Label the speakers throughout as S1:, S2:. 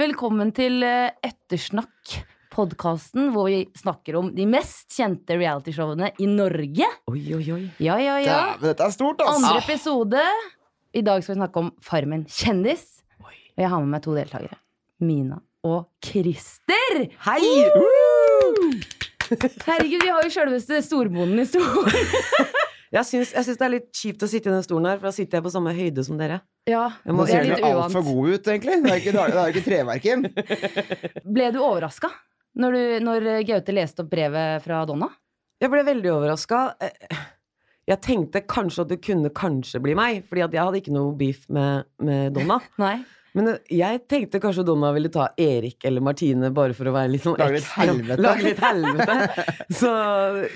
S1: Velkommen til eh, Ettersnakk, podkasten hvor vi snakker om de mest kjente realityshowene i Norge.
S2: Oi, oi, oi.
S1: Ja, ja, ja.
S3: Dæven, dette er stort, ass!
S1: Andre
S3: Ah.
S1: episode. I dag skal vi snakke om Farmen kjendis. Og jeg har med meg to deltakere. Mina og Christer.
S2: Hei!
S1: Herregud, vi har jo sjølveste storbonden i stolen.
S2: Jeg syns, jeg syns det er litt kjipt å sitte i den stolen her, for da sitter jeg på samme høyde som dere.
S1: Ja,
S2: Jeg må
S3: Nå
S1: det
S3: ser
S1: er
S2: si
S3: du
S1: litt
S3: altfor
S1: uvant.
S3: god ut, egentlig. Det er jo ikke, det er- det er jo ikke treverken.
S1: Ble du overraska når, du- når Gaute leste opp brevet fra Donna?
S2: Jeg ble veldig overraska. Jeg tenkte kanskje at det kunne kanskje bli meg, fordi at jeg hadde ikke noe beef med, med Donna.
S1: Nei.
S2: Men eh, jeg tenkte kanskje Donna ville ta Erik eller Martine bare for å være litt sånn
S3: Lage litt
S2: ekstra-
S3: helvete.
S2: Lage litt helvete. Så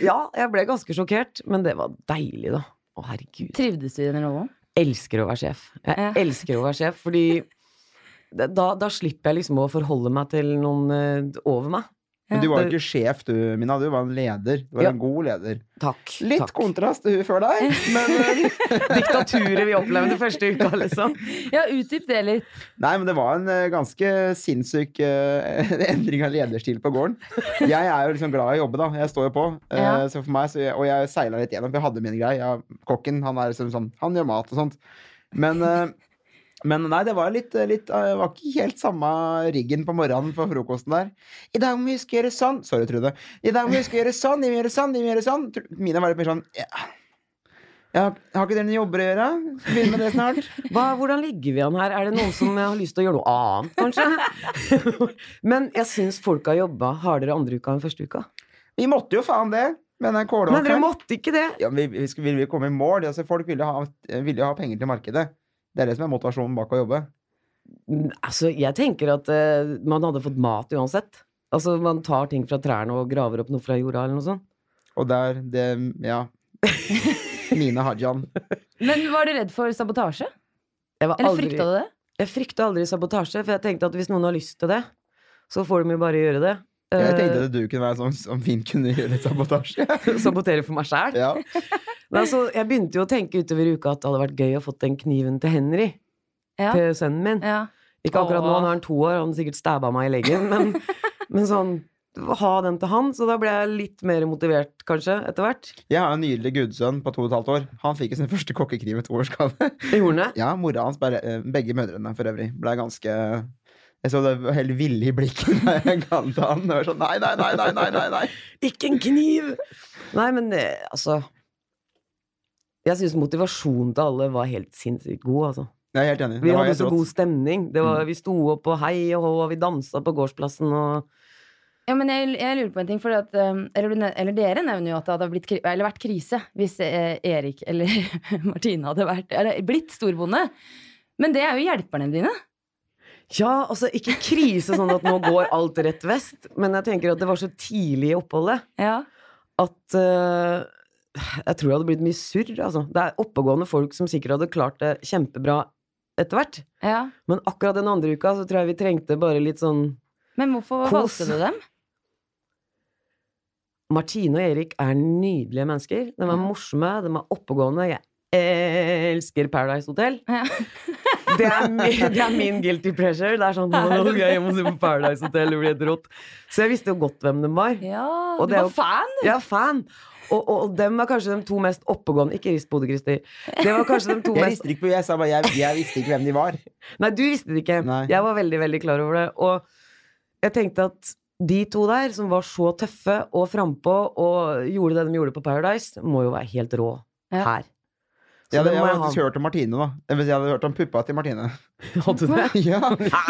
S2: ja, jeg ble ganske sjokkert, men det var deilig, da. Å, herregud.
S1: Trivdes du i den rollen?
S2: elsker å være sjef. Jeg
S1: Ja.
S2: elsker å være sjef, fordi da, da slipper jeg liksom å forholde meg til noen eh, over meg.
S3: Men du var jo
S2: Ja.
S3: ikke sjef, du, Mina. Du var en leder. Du var
S2: Ja.
S3: en god leder.
S2: Takk.
S3: Litt
S2: takk.
S3: kontrast til hun før deg, men eh,
S2: Diktaturet vi opplevde første uka, liksom.
S1: Ja, utdyp det litt.
S3: Nei, men det var en eh, ganske sinnssyk eh, endring av lederstil på gården. Jeg er jo liksom glad i å jobbe, da. Jeg står jo på. Eh,
S1: Ja.
S3: så for meg, så jeg, og jeg seila litt gjennom, for jeg hadde mine greier. Jeg, kokken, han er liksom sånn Han gjør mat og sånt. Men, eh, men nei, det var litt, litt eh, det Var ikke helt samme riggen på morgenen for frokosten der. I dag må vi huske å gjøre sånn. Sorry, Trude. I dag må vi huske å gjøre sånn, vi må gjøre sånn, vi må gjøre sånn. Tru- Mine var litt mer sånn ja. Ja, har ikke dere noen jobber å gjøre? Skal vi Begynne med det snart.
S2: Hva, hvordan ligger vi an her? Er det noen som har lyst til å gjøre noe annet, kanskje? Men jeg syns folk har jobba hardere andre uka enn første uka.
S3: Vi måtte jo faen det med den
S2: Men
S3: kålåkeren.
S2: dere måtte ikke det.
S3: ja, men vi, vi skulle, ville vi komme i mål. Altså, folk ville ha, ville jo ha penger til markedet. Det er det som er motivasjonen bak å jobbe.
S2: Altså, jeg tenker at eh, man hadde fått mat uansett. Altså, man tar ting fra trærne og graver opp noe fra jorda, eller noe sånt.
S3: Og det er det Ja. Nina Hajan.
S1: Men var du redd for sabotasje?
S2: Jeg var
S1: Eller
S2: aldri-
S1: frykta du det?
S2: Jeg frykta aldri sabotasje, for jeg tenkte at hvis noen har lyst til det, så får de jo bare gjøre det.
S3: Jeg tenkte at du kunne være sånn som fint kunne gjøre sabotasje.
S2: Eh, Sabotere for meg sjæl.
S3: Ja.
S2: Altså, jeg begynte jo å tenke utover uka at det hadde vært gøy å fått den kniven til Henry,
S1: Ja.
S2: til sønnen min.
S1: Ja.
S2: Ikke akkurat nå,
S1: Åh.
S2: han har han to år, han har sikkert stabba meg i leggen, men, men sånn ha den til han, så da ble jeg litt mer motivert, kanskje, etter hvert.
S3: Jeg har en nydelig gudsønn på to og et halvt år. Han fikk jo sin første kokkekniv i toårsgave.
S2: Jeg gjorde det.
S3: Ja, mora hans, bare, eh, begge mødrene for øvrig, ble ganske Jeg så det var helt ville i blikket da jeg ga den til han. Det var sånn nei, nei, nei, nei, nei, nei, nei.
S2: Ikke en kniv! Nei, men eh, altså Jeg syns motivasjonen til alle var helt sinnssykt god, altså.
S3: Jeg er helt enig.
S2: Vi
S3: Det var
S2: hadde
S3: helt
S2: så
S3: rått. Mm.
S2: god stemning. Det var, vi sto opp og hei og hå, og vi dansa på gårdsplassen og
S1: Ja, men jeg, jeg lurer på en ting, fordi at, um, eller, du nev- eller dere nevner jo at det hadde blitt, kri- eller vært krise hvis eh, Erik eller Martine hadde vært, eller, blitt storbonde. Men det er jo hjelperne dine.
S2: Ja, altså ikke krise sånn at nå går alt rett vest, men jeg tenker at det var så tidlig i oppholdet
S1: Ja.
S2: at eh, Jeg tror det hadde blitt mye surr, altså. Det er oppegående folk som sikkert hadde klart det kjempebra etter hvert,
S1: ja.
S2: men akkurat den andre uka så tror jeg vi trengte bare litt sånn
S1: Men hvorfor
S2: Kos.
S1: valgte du dem?
S2: Martine og Erik er nydelige mennesker. De er morsomme, de er oppegående. Jeg elsker Paradise Hotel.
S1: Ja.
S2: det, er min, det er min guilty pleasure. Det er sånn Nå skal jeg hjem og se på Paradise Hotel, det blir helt rått. Så jeg visste jo godt hvem de var.
S1: Ja,
S2: Og
S1: du
S2: det er
S1: var
S2: jo-
S1: fan.
S2: Jeg er fan. Og, og, og dem er kanskje de to mest oppegående Ikke rist på hodet, Christer. Det var kanskje de to
S3: Jeg
S2: mest
S3: visste ikke, jeg sa bare jeg, jeg visste ikke hvem de var.
S2: Nei, du visste det ikke.
S3: Nei.
S2: Jeg var veldig, veldig klar over det. Og jeg tenkte at de to der, som var så tøffe og frampå og gjorde det de gjorde på Paradise, må jo være helt rå
S1: Ja.
S2: her. Så
S3: Ja, det,
S2: det
S3: jeg
S2: må
S3: hadde
S2: jeg ha.
S3: faktisk hørt om Martine, da. Jeg vil si, Jeg hadde hørt om puppa til Martine.
S2: Hadde du det?
S3: ja.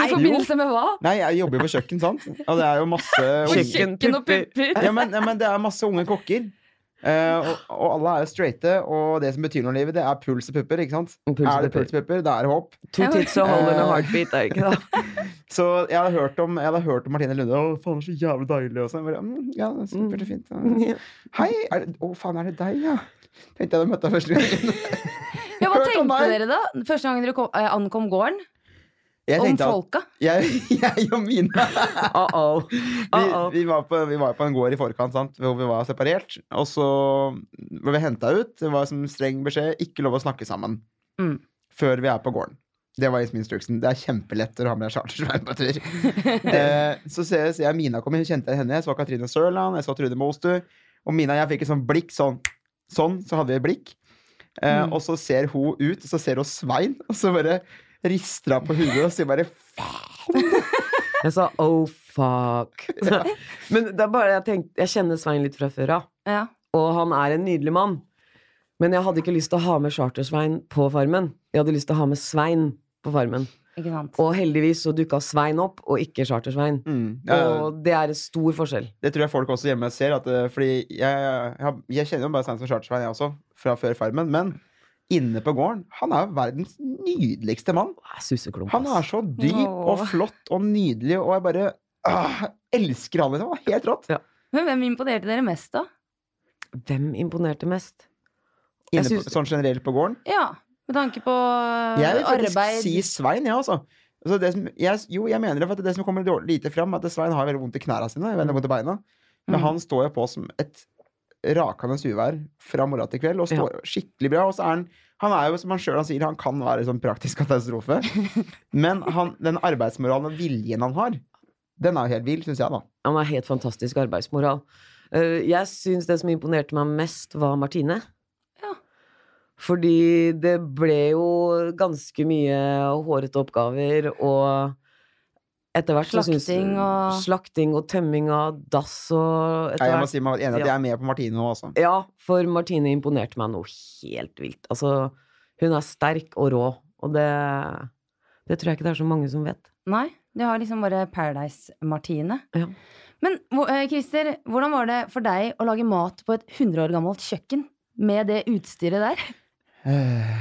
S1: I forbindelse med hva?
S3: Nei, jeg jobber jo på kjøkken, sant? Og det er jo masse unge,
S1: Kjøkken og pupper.
S3: ja, men, ja, men det er masse unge kokker. Eh, og, og alle er jo straighte, og det som betyr noe i livet, det er puls og pupper. ikke sant?
S2: Puls og
S3: er det
S2: pupper.
S3: puls og pupper, da er det håp.
S2: To tits og hold in a heartbeat, er det ikke det?
S3: Så jeg hadde hørt om, jeg hadde hørt om Martine Lunde. Å, faen, det er så jævlig deilig. Og sånn. Jeg bare, «Mm, Ja, supert og fint.
S2: Mm.
S3: Ja. Hei! Er det, å, faen, er det deg, ja? Tenkte jeg da møtte deg første gangen.
S1: Ja, hva
S3: Hørt om
S1: tenkte
S3: meg.
S1: dere da? Første gang dere kom, eh, ankom gården?
S3: Jeg
S1: Om
S3: tenkte at
S1: folka?
S3: jeg, jeg og Mina
S2: Uh-oh.
S3: Vi,
S2: Uh-oh.
S3: vi, var på, vi var på en gård i forkant, sant? hvor vi var separert. Og så ble vi henta ut. Det var som streng beskjed ikke lov å snakke sammen
S1: Mm.
S3: før vi er på gården. Det var liksom instruksen. Det er kjempelett å ha med deg chartersveien på tur. Eh, så ser jeg, ser jeg Mina komme, kjente jeg henne. Jeg så Katrine Sørland, jeg så Trude Mostu. Og Mina og jeg fikk et sånt blikk sånn. Sånn, så hadde vi et blikk. Eh,
S1: Mm.
S3: Og så ser hun ut, og så ser hun Svein, og så bare rister hun på huet og sier bare faen.
S2: Jeg sa oh fuck. Men det er bare jeg tenkte Jeg kjenner Svein litt fra før av,
S1: Ja.
S2: og han er en nydelig mann. Men jeg hadde ikke lyst til å ha med Charter-Svein på Farmen. Jeg hadde lyst til å ha med Svein på Farmen.
S1: Ikke sant.
S2: Og heldigvis så dukka Svein opp, og ikke Charter-Svein.
S3: Mm. Ja,
S2: Og det er en stor forskjell.
S3: det tror jeg folk også hjemme ser. At, eh, fordi jeg, jeg, har- jeg kjenner jo bare Stein som chartersvein, jeg også, fra før Farmen. Men inne på gården, han er jo verdens nydeligste mann.
S2: Det er Suseklump.
S3: Han er
S2: ass.
S3: så dyp
S1: Åh.
S3: og flott og nydelig, og jeg bare ah, elsker han, liksom. Han er Helt rått.
S1: Men hvem imponerte dere mest, da?
S2: Hvem imponerte mest? Jeg
S3: Inne på,
S2: synes-
S3: sånn generelt på gården.
S1: Ja, med tanke på
S3: Jeg vil faktisk
S1: arbeid Mm.
S3: si Svein, jeg, ja, altså. Altså, det som, jeg, jo, jeg mener det, for at det som kommer dårlig- lite fram, er at Svein har veldig vondt i knærne sine. Veldig vondt i beina. Men
S1: Mm.
S3: han står jo på som et rakende uvær fra morgen til kveld, og står skikkelig bra. Og så er han han er jo, som han sjøl sier, han kan være en sånn praktisk katastrofe. Men han, den arbeidsmoralen og viljen han har, den er jo helt vill, syns jeg, da.
S2: Han har helt fantastisk arbeidsmoral. Eh, Jeg syns det som imponerte meg mest, var Martine.
S1: Ja.
S2: Fordi det ble jo ganske mye hårete oppgaver, og etter hvert så syns-
S1: Slakting og-
S2: Slakting og tømming av dass og
S3: Jeg,
S2: etter
S3: jeg må
S2: hvert
S3: si meg enig i at jeg er med på Martine nå, altså.
S2: Ja, for Martine imponerte meg noe helt vilt. Altså, hun er sterk og rå, og det, det tror jeg ikke det er så mange som vet.
S1: Nei, det har liksom bare Paradise-Martine.
S2: Ja.
S1: Men hvor- eh, Christer, hvordan var det for deg å lage mat på et 100 år gammelt kjøkken med det utstyret der?
S3: Eh,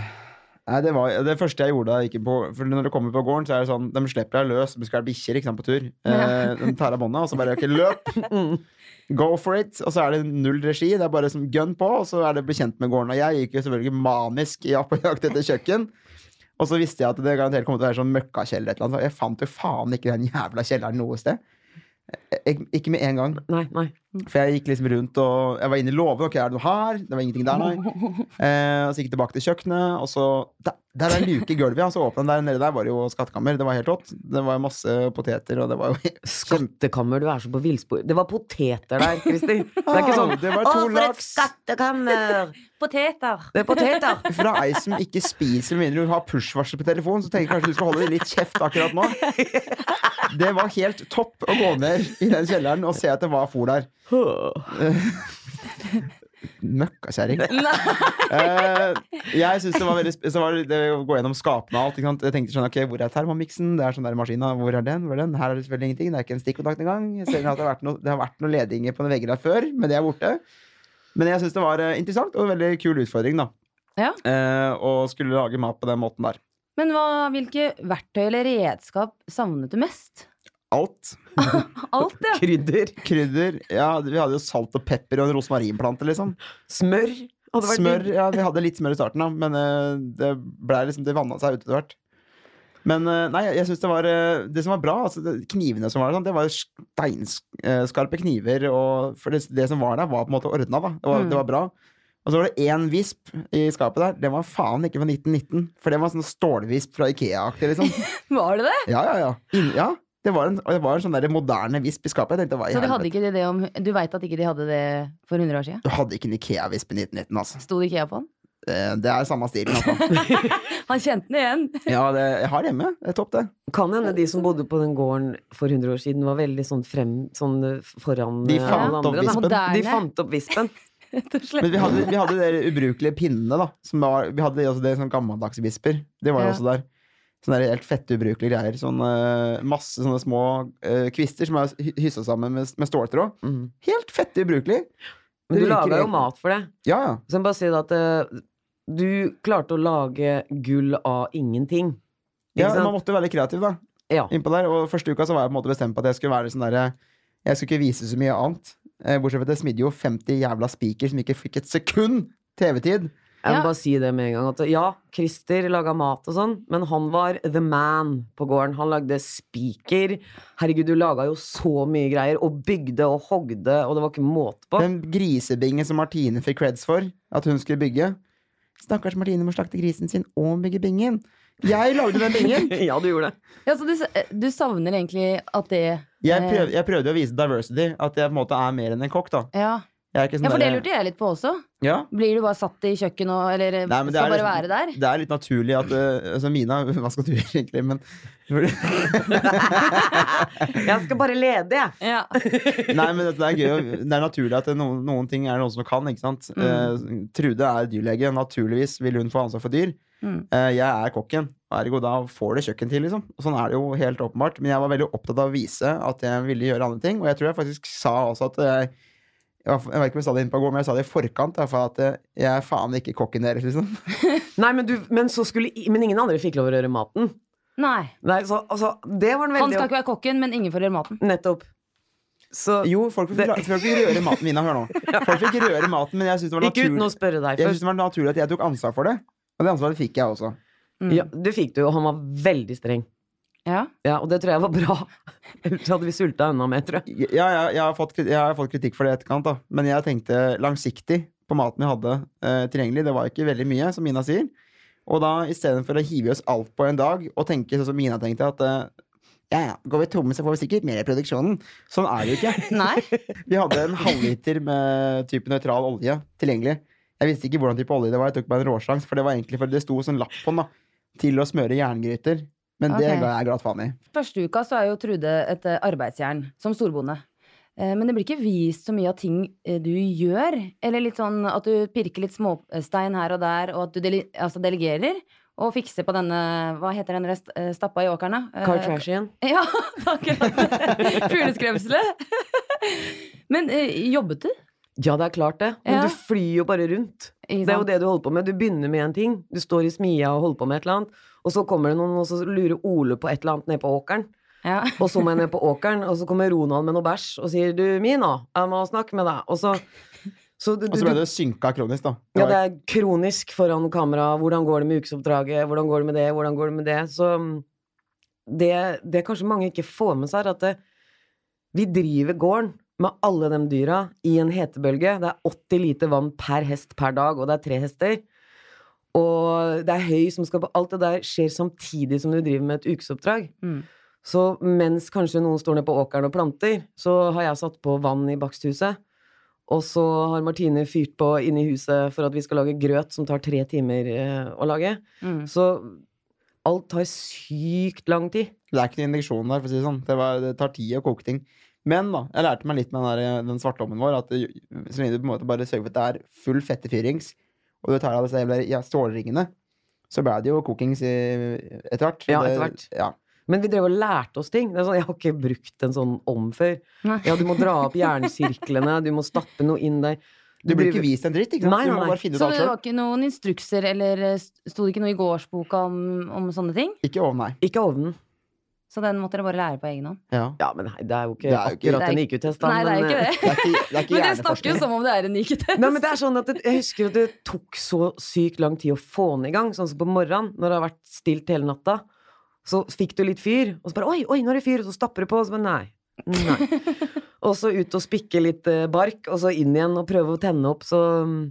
S3: Nei, det var det første jeg gjorde da jeg gikk inn på For når du kommer på gården, så er det sånn De slipper deg løs, du skal være bikkjer ikke sant, på tur. Eh, de tar av båndet, og så bare OK, løp!
S2: Mm.
S3: Go for it! Og så er det null regi. Det er bare som gun på, og så er det bli kjent med gården. Og jeg gikk jo selvfølgelig manisk ja, på jakt etter kjøkken. Og så visste jeg at det garantert kom til å være sånn møkkakjeller eller et eller annet. så Jeg fant jo faen ikke den jævla kjelleren noe sted. Ik ikke med en gang.
S2: Nei, nei.
S3: For jeg gikk liksom rundt og Jeg var inne i låven. Ok, er det noe her? Det var ingenting der, nei. Eh, og så gikk jeg tilbake til kjøkkenet, og så Der, der er en luke i gulvet, ja. Så åpna den der nede. Der var det jo skattkammer. Det var helt rått. Det var masse poteter, og det var jo
S2: Skattekammer, du er så på villspor. Det var poteter der, Kristin. Det er ikke sånn
S3: Au, Ah. Det var to laks!
S2: skattekammer!
S1: Poteter!
S2: Det er poteter!
S3: Fra ei som ikke spiser med mindre hun har push-varsel på telefonen, så tenker jeg kanskje du skal holde deg litt kjeft akkurat nå. Det var helt topp å gå ned i den kjelleren og se at det var fôr der. Møkkakjerring. Eh, jeg synes det var veldig sp- så var det, det å gå gjennom skapene og alt. Ikke sant? Jeg tenkte sånn, ok, Hvor er termomiksen? Det er sånn der maskina. Hvor er den? Hvor er den? Her er det selvfølgelig ingenting. Det er ikke en stikkontakt engang. Jeg ser at det, har vært noe, det har vært noen ledinger på noen vegger der før, men det er borte. Men jeg syns det var eh, interessant og en veldig kul utfordring, da.
S1: Ja.
S3: Eh, å skulle lage mat på den måten der.
S1: Men hva, hvilke verktøy eller redskap savnet du mest?
S3: Alt.
S1: Alt, ja.
S2: Krydder.
S3: Krydder. Ja, vi hadde jo salt og pepper og en rosmarinplante, liksom.
S2: Smør. Hadde vært
S3: Smør,
S2: digg.
S3: ja, vi hadde litt smør i starten, da, men eh, det ble liksom, det vanna seg ut etter hvert. Men eh, nei, jeg synes det var eh, Det som var bra, altså det, knivene som var der, sånn, det var jo steinskarpe kniver. Og, for det, det som var der, var på en måte ordna, da. Det var,
S1: Mm.
S3: det var bra. Og så var det én visp i skapet der. Den var faen ikke fra 1919. For det var en sånn stålvisp fra Ikea-aktig, liksom.
S1: Var det det?
S3: Ja, ja, ja. Inn- ja. Det var en, og det var en sånn der moderne visp i skapet. Jeg tenkte, hva i
S1: Så de hadde
S3: helvete?
S1: ikke det, det om, du veit at ikke de hadde det for 100 år siden?
S3: Du hadde ikke en Ikea-visp i 1919, altså.
S1: Sto det Ikea på den?
S3: Eh, Det er samme stilen. Altså.
S1: Han kjente den igjen!
S3: Ja, det, jeg har det hjemme. Det er topp, det.
S2: Kan hende de som bodde på den gården for 100 år siden, var veldig sånn frem sånn eh, foran
S3: De
S2: eh,
S3: fant
S2: alle
S3: opp
S2: andre. da.
S3: vispen.
S1: Moderne.
S2: De fant opp vispen.
S1: Rett og
S3: Men
S1: slett.
S3: vi hadde, vi hadde de der ubrukelige pinnene, da. Som var, vi hadde også det sånn gammeldagse visper. Det var jo
S1: Ja.
S3: også der. Sånne der helt fette, ubrukelige greier. Sånn, eh, masse sånne små eh, kvister som er hy- hyssa sammen med, med ståltråd.
S2: Mm.
S3: Helt fette ubrukelig. Det
S2: Men du
S3: virker
S2: laga jo
S3: egentlig-
S2: mat for det.
S3: Ja, ja.
S2: Så jeg må bare si det at eh, du klarte å lage gull av ingenting. Ikke
S3: ja
S2: sant?
S3: man måtte være litt kreativ, da.
S2: Ja.
S3: Innpå der. Og første uka så var jeg på en måte bestemt på at jeg skulle være sånn derre Jeg skulle ikke vise så mye annet. Eh, Bortsett fra at jeg smidde jo 50 jævla spiker som ikke fikk et sekund TV-tid.
S2: Jeg må
S1: Ja.
S2: bare si det med en gang. At ja, Christer laga mat og sånn, men han var the man på gården. Han lagde spiker. Herregud, du laga jo så mye greier. Og bygde og hogde, og det var ikke måte på.
S3: Den grisebingen som Martine fikk creds for at hun skulle bygge. Stakkars Martine må slakte grisen sin og bygge bingen. Jeg lagde den bingen!
S2: ja, du gjorde det.
S1: Ja, så du, s- du savner egentlig at det
S3: Jeg, prøv, jeg prøvde jo å vise diversity, at jeg på en måte er mer enn en kokk. da
S1: Ja,
S3: jeg er ikke sånn
S1: ja for det
S3: der-
S1: lurte jeg litt på også.
S3: ja.
S1: Blir du bare satt i kjøkkenet og Eller
S3: Nei, men det
S1: skal
S3: er
S1: bare
S3: liksom-
S1: være der?
S3: Det er litt naturlig at eh, altså Mina, hva skal du gjøre egentlig? Men,
S2: Jeg skal bare lede, jeg.
S1: Ja.
S3: nei, men det er gøy å- Det er naturlig at det er noen, noen ting er det noen som kan. Ikke sant?
S2: Mm.
S3: Eh, Trude er dyrlege. Naturligvis vil hun få ansvar for dyr.
S1: Mm.
S3: Eh, jeg er kokken, ergo da får det kjøkken til. liksom Og Sånn er det jo helt åpenbart. Men jeg var veldig opptatt av å vise at jeg ville gjøre andre ting. Og jeg tror jeg faktisk sa også at jeg jeg vet ikke om jeg sa det innpå i går, men jeg sa det i forkant. da, for at eh, jeg er faen ikke kokken deres, liksom.
S2: Nei, men, du, men, så skulle, i- men ingen andre fikk lov å røre maten.
S1: Nei.
S2: Nei, så, altså, det var en
S1: Han
S2: veldig
S1: skal ikke være kokken, men ingen får gjøre maten.
S2: Nettopp. Så
S3: Jo, folk fikk,
S2: Det-
S3: la- folk fikk røre maten min. Hør nå. Folk fikk røre maten, men jeg syns det, var
S2: ikke uten å
S3: naturlig-
S2: spørre deg
S3: jeg
S2: først.
S3: synes det var naturlig at jeg tok ansvar for det. Og det ansvaret fikk jeg også.
S1: Mm.
S2: Ja, det fikk du, og han var veldig streng.
S1: Ja.
S2: Ja, Og det tror jeg var bra. Ellers hadde vi sulta enda mer, tror jeg.
S3: Ja, jeg, jeg, har fått, kri- jeg har fått kritikk for det i etterkant, da. men jeg tenkte langsiktig på maten vi hadde eh, tilgjengelig. Det var ikke veldig mye, som Mina sier. Og da istedenfor å hive i oss alt på en dag og tenke sånn som Mina tenkte, at eh, ja, ja, går vi tomme, så får vi sikkert mer i produksjonen. Sånn er det jo ikke.
S1: Nei.
S3: Vi hadde en halvliter med type nøytral olje tilgjengelig. Jeg visste ikke hvordan type olje det var, jeg tok bare en råsjans, for det var egentlig for det sto sånn lapp på den, da. Til å smøre jerngryter. Men det
S1: Ok.
S3: ga jeg glatt faen i.
S1: Første uka så er jo Trude et eh, arbeidsjern som storbonde. Eh, Men det blir ikke vist så mye av ting eh, du gjør. Eller litt sånn at du pirker litt småstein her og der, og at du dele altså delegerer. Og fikser på denne Hva heter den rest, eh, stappa i åkeren, da? Eh,
S2: Car Trashian.
S1: Ja, det er akkurat det. Fugleskremselet. Men eh, jobbet du?
S2: Ja, det er klart det. Men
S1: Ja.
S2: du flyr jo bare rundt.
S1: Ikke
S2: Det er jo
S1: sant?
S2: det du holder på med. Du begynner med en ting. Du står i smia og holder på med et eller annet. Og så kommer det noen, og så lurer Ole på et eller annet nede på åkeren.
S1: Ja.
S2: Og så må jeg ned på åkeren, og så kommer Ronald med noe bæsj og sier 'du, Mina, jeg må snakke med deg'. Og så, så du,
S3: Og så ble det synka kronisk, da. Det
S2: Ja,
S3: var-
S2: det er kronisk foran kamera. Hvordan går det med ukesoppdraget? Hvordan går det med det? Hvordan går det med det? Så mm, det, det kanskje mange ikke får med seg, er at det, vi driver gården med alle de dyra i en hetebølge. Det er 80 liter vann per hest per dag, og det er tre hester. Og det er høy som skal på Alt det der skjer samtidig som du driver med et ukesoppdrag.
S1: Mm.
S2: Så mens kanskje noen står nede på åkeren og planter, så har jeg satt på vann i baksthuset. Og så har Martine fyrt på inne i huset for at vi skal lage grøt som tar tre timer eh, å lage.
S1: Mm.
S2: Så alt tar sykt lang tid.
S3: Det er ikke noen injeksjon der, for å si det sånn. Det, var, det tar tid å koke ting. Men da, jeg lærte meg litt med den, der, den svartlommen vår, at det- så lenge du på en måte bare sørger for at det er full fett i fyrings, og du tar av disse jævla ja, stålringene, så ble det jo kokings i- etter hvert.
S2: Ja,
S3: Det-
S2: etter hvert.
S3: Ja.
S2: Men vi drev og lærte oss ting. Det er sånn, jeg har ikke brukt en sånn om før.
S1: Nei.
S2: Ja, du må dra opp jernsirklene, du må stappe noe inn der.
S3: Du blir
S2: driver-
S3: ikke vist en dritt, ikke sant?
S2: Nei,
S3: Du
S2: nei,
S3: må
S2: nei.
S3: bare finne ut
S1: Så
S3: alt
S1: det
S3: selv.
S1: var ikke noen instrukser, eller eh, st- sto det ikke noe i gårdsboka om, om sånne ting?
S3: Ikke å, nei.
S2: Ikke ovnen.
S1: Så den måtte dere bare lære på egen hånd?
S3: Ja.
S2: Ja, men nei, det er jo ikke
S3: Det er jo ikke-
S2: akkurat en IQ-test, da.
S1: Nei, det er
S2: men,
S1: jo
S2: eh,
S1: ikke det.
S3: Det er ikke, det er ikke
S1: Men dere snakker jo
S3: hjerneforskning.
S1: som om det er en IQ-test.
S2: Nei, men det er sånn at det, Jeg husker at det tok så sykt lang tid å få den i gang. Sånn som på morgenen, når det har vært stilt hele natta. Så fikk du litt fyr, og så bare Oi, oi, nå er det fyr! Og så stapper du på, og så bare Nei. Nei. og så ut og spikke litt eh, bark, og så inn igjen og prøve å tenne opp. Så mm,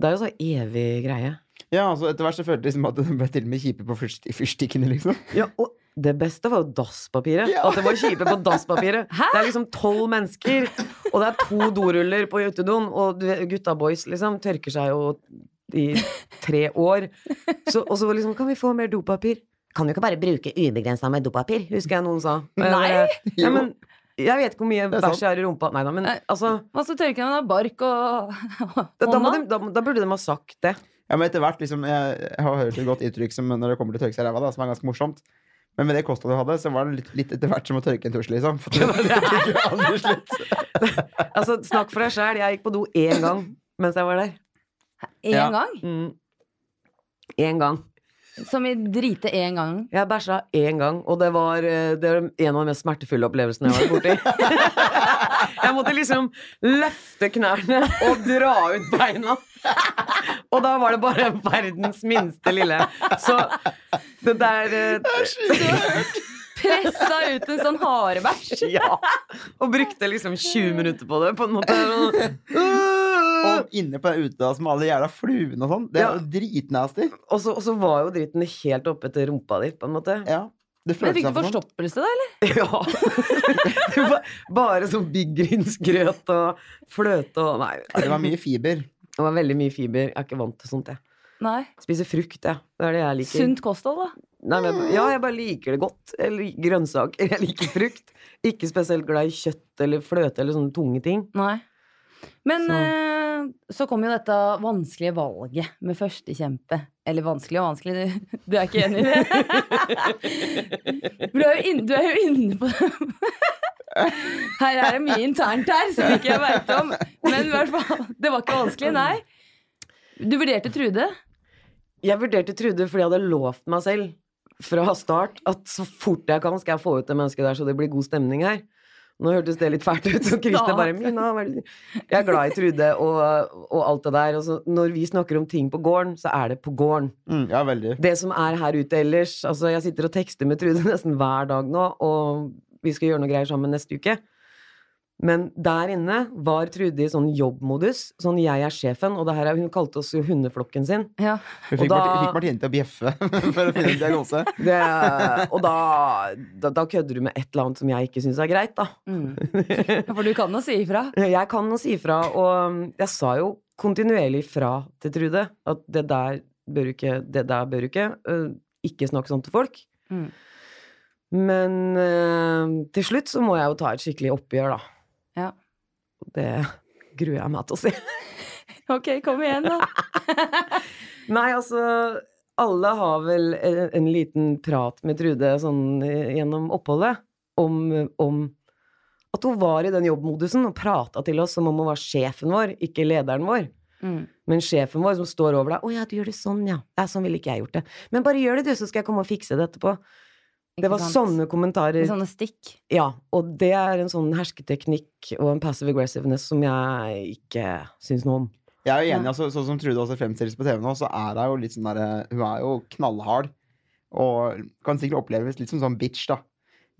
S2: det er jo så evig greie.
S3: Ja, altså etter hvert så følte jeg liksom at det ble til og med kjipe på fyrst- fyrstikkene, liksom.
S2: Ja, og det beste var jo dasspapiret.
S3: Ja.
S2: At det var kjipe på dasspapiret.
S1: Hæ?
S2: Det er liksom tolv mennesker, og det er to doruller på utedoen, og du vet, gutta boys liksom tørker seg jo i tre år. Så, og så var det liksom Kan vi få mer dopapir? Kan du ikke bare bruke ubegrensa med dopapir, husker jeg noen sa. Og jeg bare, Ja, men jeg vet ikke hvor mye
S3: Det er sant. Eh,
S2: bæsj jeg har i rumpa. Nei da, men
S1: Nei.
S2: altså
S1: Hva så tørker han av bark og
S2: da, da, må
S1: hånda?
S2: de, da, da burde de ha sagt det.
S3: Ja, men etter hvert, liksom, jeg, jeg har hørt et godt uttrykk som når det kommer til å tørke seg i ræva, da, som er ganske morsomt. Men med det kostholdet du hadde, så var det litt, litt etter hvert som å tørke en tusj, liksom. For det gikk jo aldri slutt.
S2: Altså, snakk for deg sjæl. Jeg gikk på do én gang mens jeg var der.
S1: Én
S3: Ja.
S1: gang?
S2: Mm. Én gang.
S1: Som i drite én gang?
S2: Jeg bæsja én gang, og det var, eh, det var en av de mest smertefulle opplevelsene jeg var borti. Jeg måtte liksom løfte knærne og dra ut beina. Og da var det bare verdens minste lille. Så det der eh,
S1: Pressa ut en sånn harebæsj?
S2: Ja. Og brukte liksom 20 minutter på det, på en måte.
S3: Og inne på den utedassen med alle jævla fluene og sånn. Det er
S2: Ja.
S3: jo dritnasty.
S2: Og så, og så var jo dritten helt oppe etter rumpa di, på en måte.
S3: Ja. Det
S1: Men
S3: føltes
S1: fikk du
S3: som sånn.
S1: forstoppelse, da? eller?
S2: Ja. Det var Bare sånn biggrynsgrøt og fløte og Nei.
S3: Ja, Det var mye fiber.
S2: Det var veldig mye fiber. Jeg er ikke vant til sånt, jeg.
S1: Nei.
S2: Spiser frukt, jeg. Det er det jeg liker.
S1: Sunt kosthold, da.
S2: Nei, men, jeg- ja, jeg bare liker det godt. Jeg liker grønnsaker. Jeg liker frukt. Ikke spesielt glad i kjøtt eller fløte eller sånne tunge ting.
S1: Nei. Men
S2: Så.
S1: eh, så kom jo dette vanskelige valget med førstekjempe. Eller vanskelig og vanskelig, du, du er ikke enig i det? Du er jo inne, du er jo inne på Her er det mye internt her som ikke jeg veit om. Men i hvert fall, det var ikke vanskelig, nei. Du vurderte Trude.
S2: Jeg vurderte Trude fordi jeg hadde lovt meg selv fra start at så fort jeg kan, skal jeg få ut det mennesket der så det blir god stemning her. Nå hørtes det litt fælt ut, og Christer bare Mina, hva er det du-" Jeg er glad i Trude og, og alt det der. Og så, når vi snakker om ting på gården, så er det på gården.
S3: Mm, ja, veldig.
S2: det som er her ute ellers Altså, jeg sitter og tekster med Trude nesten hver dag nå, og vi skal gjøre noe greier sammen neste uke. Men der inne var Trude i sånn jobbmodus. Sånn 'jeg er sjefen', og det her er Hun kalte oss jo hundeflokken sin.
S1: Ja.
S3: Hun
S2: Og
S3: fikk,
S2: da-
S3: Marti- fikk Martine til å bjeffe for å finne en diagnose.
S2: Det, og da, da, da kødder du med et eller annet som jeg ikke syns er greit, da.
S1: Mm. For du kan jo si ifra.
S2: Jeg kan å si ifra, og jeg sa jo kontinuerlig fra til Trude at det der bør du ikke, det der bør du ikke. øh, Ikke snakk sånn til folk.
S1: Mm.
S2: Men øh, til slutt så må jeg jo ta et skikkelig oppgjør, da.
S1: Ja.
S2: Og Det gruer jeg meg til å se.
S1: Ok, kom igjen, da.
S2: Nei, altså Alle har vel en, en liten prat med Trude sånn eh, gjennom oppholdet om, om at hun var i den jobbmodusen og prata til oss som om hun var sjefen vår, ikke lederen vår.
S1: Mm.
S2: Men sjefen vår som står over deg 'Å ja, du gjør det sånn, ja'. ja 'Sånn ville ikke jeg gjort det'. 'Men bare gjør det, du, så skal jeg komme og fikse det etterpå'. Det
S1: Ikke
S2: var
S1: sant?
S2: sånne kommentarer.
S1: Sånne stikk.
S2: Ja, og det er en sånn hersketeknikk og en passive aggressiveness som jeg ikke syns noe om.
S3: Jeg er jo
S1: Ja.
S3: enig, altså, sånn som Trude også fremstilles på TV nå, så er hun jo litt sånn derre Hun er jo knallhard. Og kan sikkert oppleves litt som sånn bitch, da.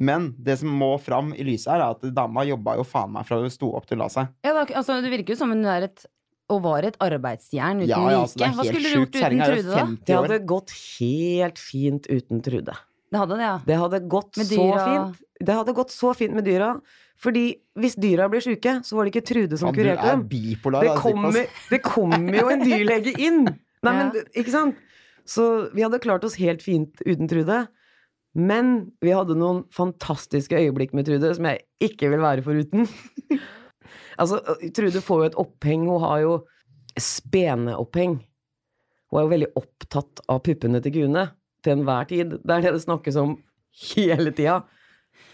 S3: Men det som må fram i lyset her, er at dama jobba jo faen meg fra hun sto opp til hun la seg.
S1: Ja, det, er ikke- altså, det virker jo som hun er et og var et arbeidsjern uten
S3: Ja, ja, altså, det
S1: like.
S3: er
S1: Hva
S3: helt
S1: skulle du gjort
S3: sjukt.
S1: uten
S3: Kjerringa er jo
S1: Trude, da?
S3: 50
S2: Det
S3: år.
S2: hadde gått helt fint uten Trude.
S1: Det hadde det, ja. Mm.
S2: Det hadde gått
S1: Med
S2: så
S1: dyra.
S2: fint. Det hadde gått så fint med dyra. Fordi hvis dyra ble sjuke, så var det ikke Trude som
S3: Faen,
S2: kurerte
S3: du er
S2: dem.
S3: bipolar. altså,
S2: Det
S3: da,
S2: kommer,
S3: Stipas.
S2: det kommer jo en dyrlege inn! Nei,
S1: Ja.
S2: men, det- ikke sant? Så vi hadde klart oss helt fint uten Trude. Men vi hadde noen fantastiske øyeblikk med Trude som jeg ikke vil være foruten. altså, Trude får jo et oppheng. Hun har jo speneoppheng. Hun er jo veldig opptatt av puppene til kuene til enhver tid. Det er det det snakkes om hele tida.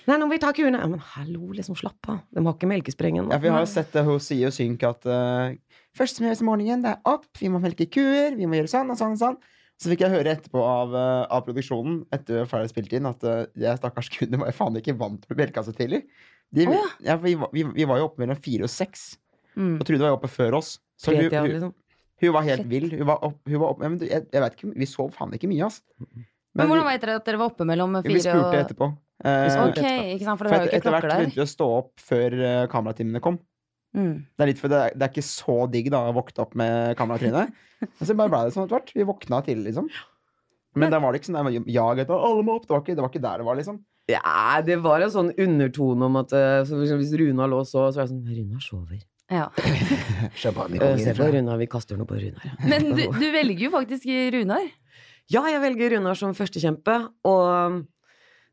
S2: Nei, nå må vi ta kuene. Ja, men hallo, liksom, slapp av. De har ikke melkesprengen.
S3: Ja, for jeg har jo sett det hun sier jo synk at eh, Først som gjøres om morgenen, det er opp, vi må melke kuer, vi må gjøre sånn og sånn og sånn. Så fikk jeg høre etterpå av, eh, av produksjonen etter vi var ferdig spilt inn, at eh, jeg stakkars kuene var jo faen ikke vant til å bli melka så tidlig. De,
S1: Å, ja.
S3: ja, for vi, var- vi, vi var jo oppe mellom fire og seks,
S1: Mm.
S3: og Trude var jo oppe før oss. Så hun,
S2: Tretida,
S3: hun,
S2: liksom.
S3: hun var helt
S1: Shit.
S3: vill. Hun var opp, hun var opp, ja, men du, jeg, jeg vet ikke, vi sov faen ikke mye, ass.
S1: Mm, Men hvordan
S3: vi,
S1: vet dere at dere var oppe mellom fire
S3: vi
S1: og
S3: spurte etterpå. Eh,
S2: Vi spurte
S1: Ok, ikke sant, for det var
S3: for
S1: jo
S3: et,
S1: ikke
S3: etter hvert
S1: klokker der.
S3: begynte vi å stå opp før eh, kameratimene kom.
S1: Mm.
S3: Det er litt for det er, det er ikke så digg da å våkne opp med kameratryne. Men så bare ble det sånn etter hvert. Vi våkna tidlig, liksom. Men der var det ikke sånn der, jag etter alle må opp. Det var ikke, det var ikke der det var, liksom.
S2: Ja, det var en sånn undertone om at eh, så for eksempel hvis Runar lå og sov, så var jeg sånn Runar sover.
S1: Ja.
S2: Eh, Se på Runar, vi kaster noe på Runar. ja.
S1: Men du, du velger jo faktisk Runar.
S2: Ja, jeg velger Runar som førstekjempe, og um,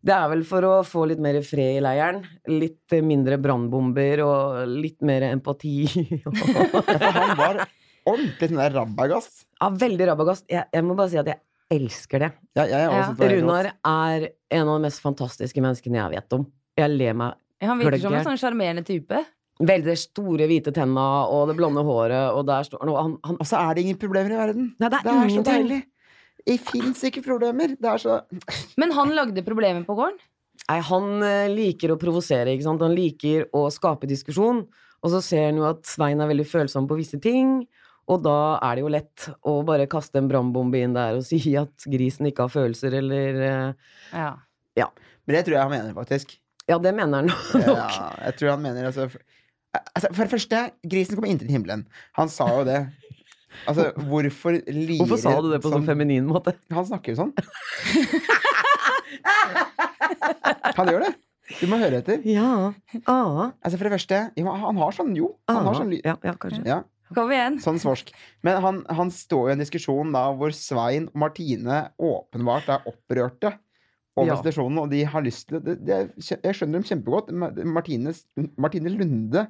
S2: det er vel for å få litt mer fred i leiren. Litt eh, mindre brannbomber og litt mer empati.
S3: Ja, for han var ordentlig sånn der rabagast.
S2: ja, veldig rabagast. Jeg, jeg må bare si at jeg elsker det.
S3: Ja, jeg, har også
S1: Ja.
S3: syntes det var helt rått.
S2: Runar er en av de mest fantastiske menneskene jeg vet om. Jeg ler meg
S1: Ja, han virker som en
S2: Gløgg.
S1: sånn sjarmerende type.
S2: Veldig store, hvite tenna og det blonde håret, og der står han, og han, han
S3: Og så er det ingen problemer i verden.
S2: Nei, det er,
S3: Det er så
S2: ingenting.
S3: deilig. Det fins ikke problemer. Det er så
S1: Men han lagde problemer på gården.
S2: Nei, han eh, liker å provosere, ikke sant? Han liker å skape diskusjon. Og så ser han jo at Svein er veldig følsom på visse ting, og da er det jo lett å bare kaste en brannbombe inn der og si at grisen ikke har følelser, eller eh,
S1: Ja.
S3: Men det tror jeg han mener, faktisk.
S2: Ja, det mener han nok.
S3: Ja, jeg tror han mener altså, altså, For det første, grisen kom inn til himmelen. Han sa jo det. Altså, hvorfor lirer
S2: Hvorfor sa du det på sånn feminin måte?
S3: Han snakker jo sånn. Han gjør det. Du må høre etter.
S2: Ja. Ah.
S3: Altså, for det første, jo, han har sånn jo. Han har sånn lyd.
S2: ja, ja, kanskje.
S3: Ja.
S1: Kom igjen.
S3: Sånn svorsk. Men han, han står jo i en diskusjon da hvor Svein og Martine åpenbart er opprørte over
S2: Ja.
S3: situasjonen, og de har lyst til det, det, Jeg skjønner dem kjempegodt. Ma- Martine, Martine Lunde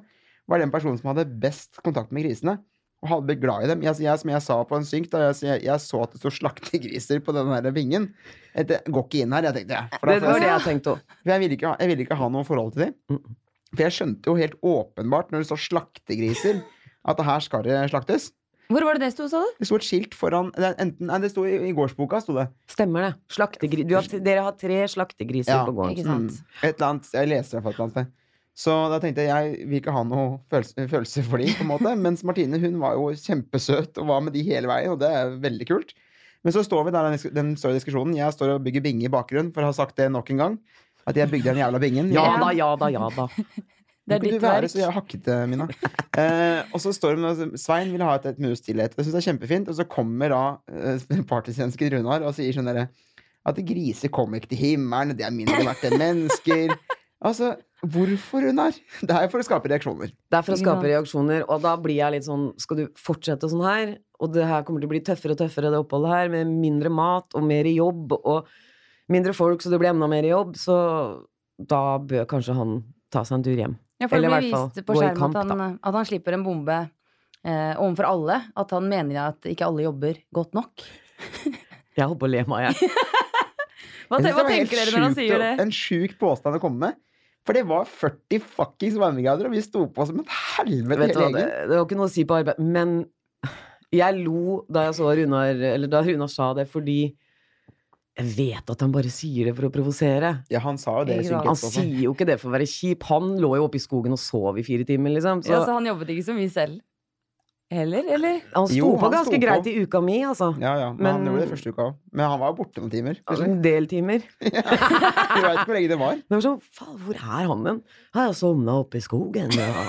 S3: var den personen som hadde best kontakt med grisene. Og hadde blitt glad i dem. Jeg, jeg, som jeg sa på en synk, da, jeg, jeg, jeg så at det sto slaktegriser på den der vingen. Det går ikke inn her, jeg tenkte jeg. For da
S2: Det
S3: får jeg
S2: var det jeg tenkte òg.
S3: for jeg ville ikke, ha- jeg ville ikke ha noe forhold til dem.
S2: Mm.
S3: For jeg skjønte jo helt åpenbart når det står slaktegriser, at det her skal det slaktes.
S1: Hvor var det det sto, sa du?
S3: Det sto et skilt foran det, er enten, nei, det sto i, i gårdsboka. Sto det.
S2: Stemmer det. Slaktegri du har, dere har tre slaktegriser
S3: Ja.
S2: på gården.
S1: Ikke sant.
S3: Mm. Et eller annet, jeg leste det fra et eller annet sted. Så da tenkte jeg jeg vil ikke ha noe følelse, følelse for dem. på en måte. Mens Martine hun var jo kjempesøt og var med de hele veien, og det er veldig kult. Men så står vi der, i den, disk- den står i diskusjonen. Jeg står og bygger binge i bakgrunnen, for jeg har sagt det nok en gang. At jeg bygde den jævla bingen.
S2: Ja
S1: Ja.
S2: da, ja da, ja da.
S1: Det er
S3: Kan
S1: ditt
S3: du være
S1: verk.
S3: så hakkete, Mina? Eh, og så står hun og Svein vil ha et, et minutts stillhet. Jeg synes det er kjempefint. Og så kommer da eh, partysvensken Runar og sier sånn derre At griser kommer ikke til himmelen, det er mindre verdt enn mennesker. Altså, hvorfor, Runar? Det er jo for å skape reaksjoner.
S2: Det er for å
S1: Ikke
S2: skape
S1: sant?
S2: reaksjoner, og da blir jeg litt sånn Skal du fortsette sånn her? Og det her kommer til å bli tøffere og tøffere, det oppholdet her, med mindre mat og mer jobb og mindre folk, så det blir enda mer jobb, så da bør kanskje han ta seg en tur hjem.
S1: Ja, for det
S2: Eller i
S1: blir
S2: hvert
S1: vist
S2: fall
S1: på
S2: gå i
S1: skjermen
S2: kamp,
S1: at han, at han slipper en bombe eh, overfor alle. At han mener at ikke alle jobber godt nok.
S2: Jeg holdt på å le meg, jeg.
S1: Hva, te-
S3: Jeg
S1: hva
S3: synes det var helt
S1: tenker dere når han
S3: sjukt
S1: sier
S3: å-
S1: det?
S3: En sjuk påstand å komme med. For det var 40 fuckings varmegrader, og vi sto på som et helvete
S2: Vet du
S3: hele
S2: hva, det,
S3: gjengen.
S2: det var ikke noe å si på arbeid, men jeg lo da jeg så Runar, eller da Runar sa det, fordi jeg vet at han bare sier det for å provosere.
S3: Ja, han sa jo det i
S1: Ikke sant.
S3: synken
S2: Han
S3: også.
S2: sier jo ikke det for å være kjip. Han lå jo oppe i skogen og sov i fire timer, liksom.
S1: Ja, så han jobbet ikke så mye selv. Heller, eller?
S2: Han sto
S3: Jo,
S2: på
S3: han
S2: ganske
S3: sto på.
S2: greit i uka mi, altså.
S3: Ja, ja, men, han
S2: Men-
S3: gjorde det første uka òg. Men han var jo borte noen timer.
S2: Altså,
S3: plutselig.
S2: En del timer.
S3: Vi veit ikke hvor lenge det var.
S2: Det var sånn, faen, hvor er han hen? Har jeg sovna oppe i skogen? Og,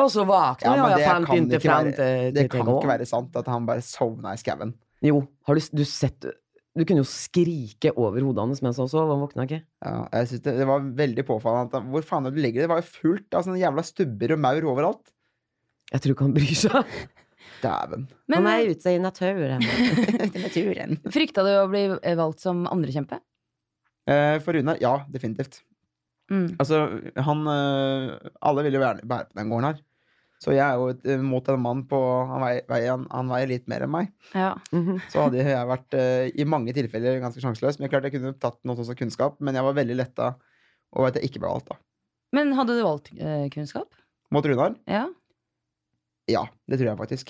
S2: og så
S3: Ja,
S2: våkna jeg,
S3: men
S2: og
S3: det
S2: jeg fant
S3: kan
S2: ikke
S3: ikke
S2: fram
S3: være-
S2: til
S3: Det
S2: til
S3: kan
S2: TGH.
S3: ikke være sant at han bare sovna i skauen.
S2: Jo, har du, du sett Du kunne jo skrike over hodet hans mens han sov, han våkna ikke.
S3: Ja, jeg synes det, det var veldig påfallende. At, han- hvor faen er det du legger det? Det var jo fullt av sånne jævla stubber og maur overalt.
S2: Jeg tror ikke han bryr seg.
S3: Dæven.
S1: Men
S2: han er ute i naturen.
S3: Naturen.
S1: eh, frykta du å bli eh, valgt som andrekjempe?
S3: Eh, For Runar, ja, definitivt.
S1: Mm.
S3: Altså, han eh, Alle vil jo gjerne bære på den gården her. Så jeg er jo et, eh, mot en mann på han veier, veier, han, han veier litt mer enn meg.
S1: Ja.
S2: Mhm.
S3: Så hadde jeg vært eh, i mange tilfeller ganske sjanseløs. Men klart jeg kunne tatt noe sånt som kunnskap, men jeg var veldig letta over at jeg ikke ble valgt, da.
S1: Men hadde du valgt eh, kunnskap?
S3: Mot Runar?
S1: Ja.
S3: Ja, det tror jeg faktisk.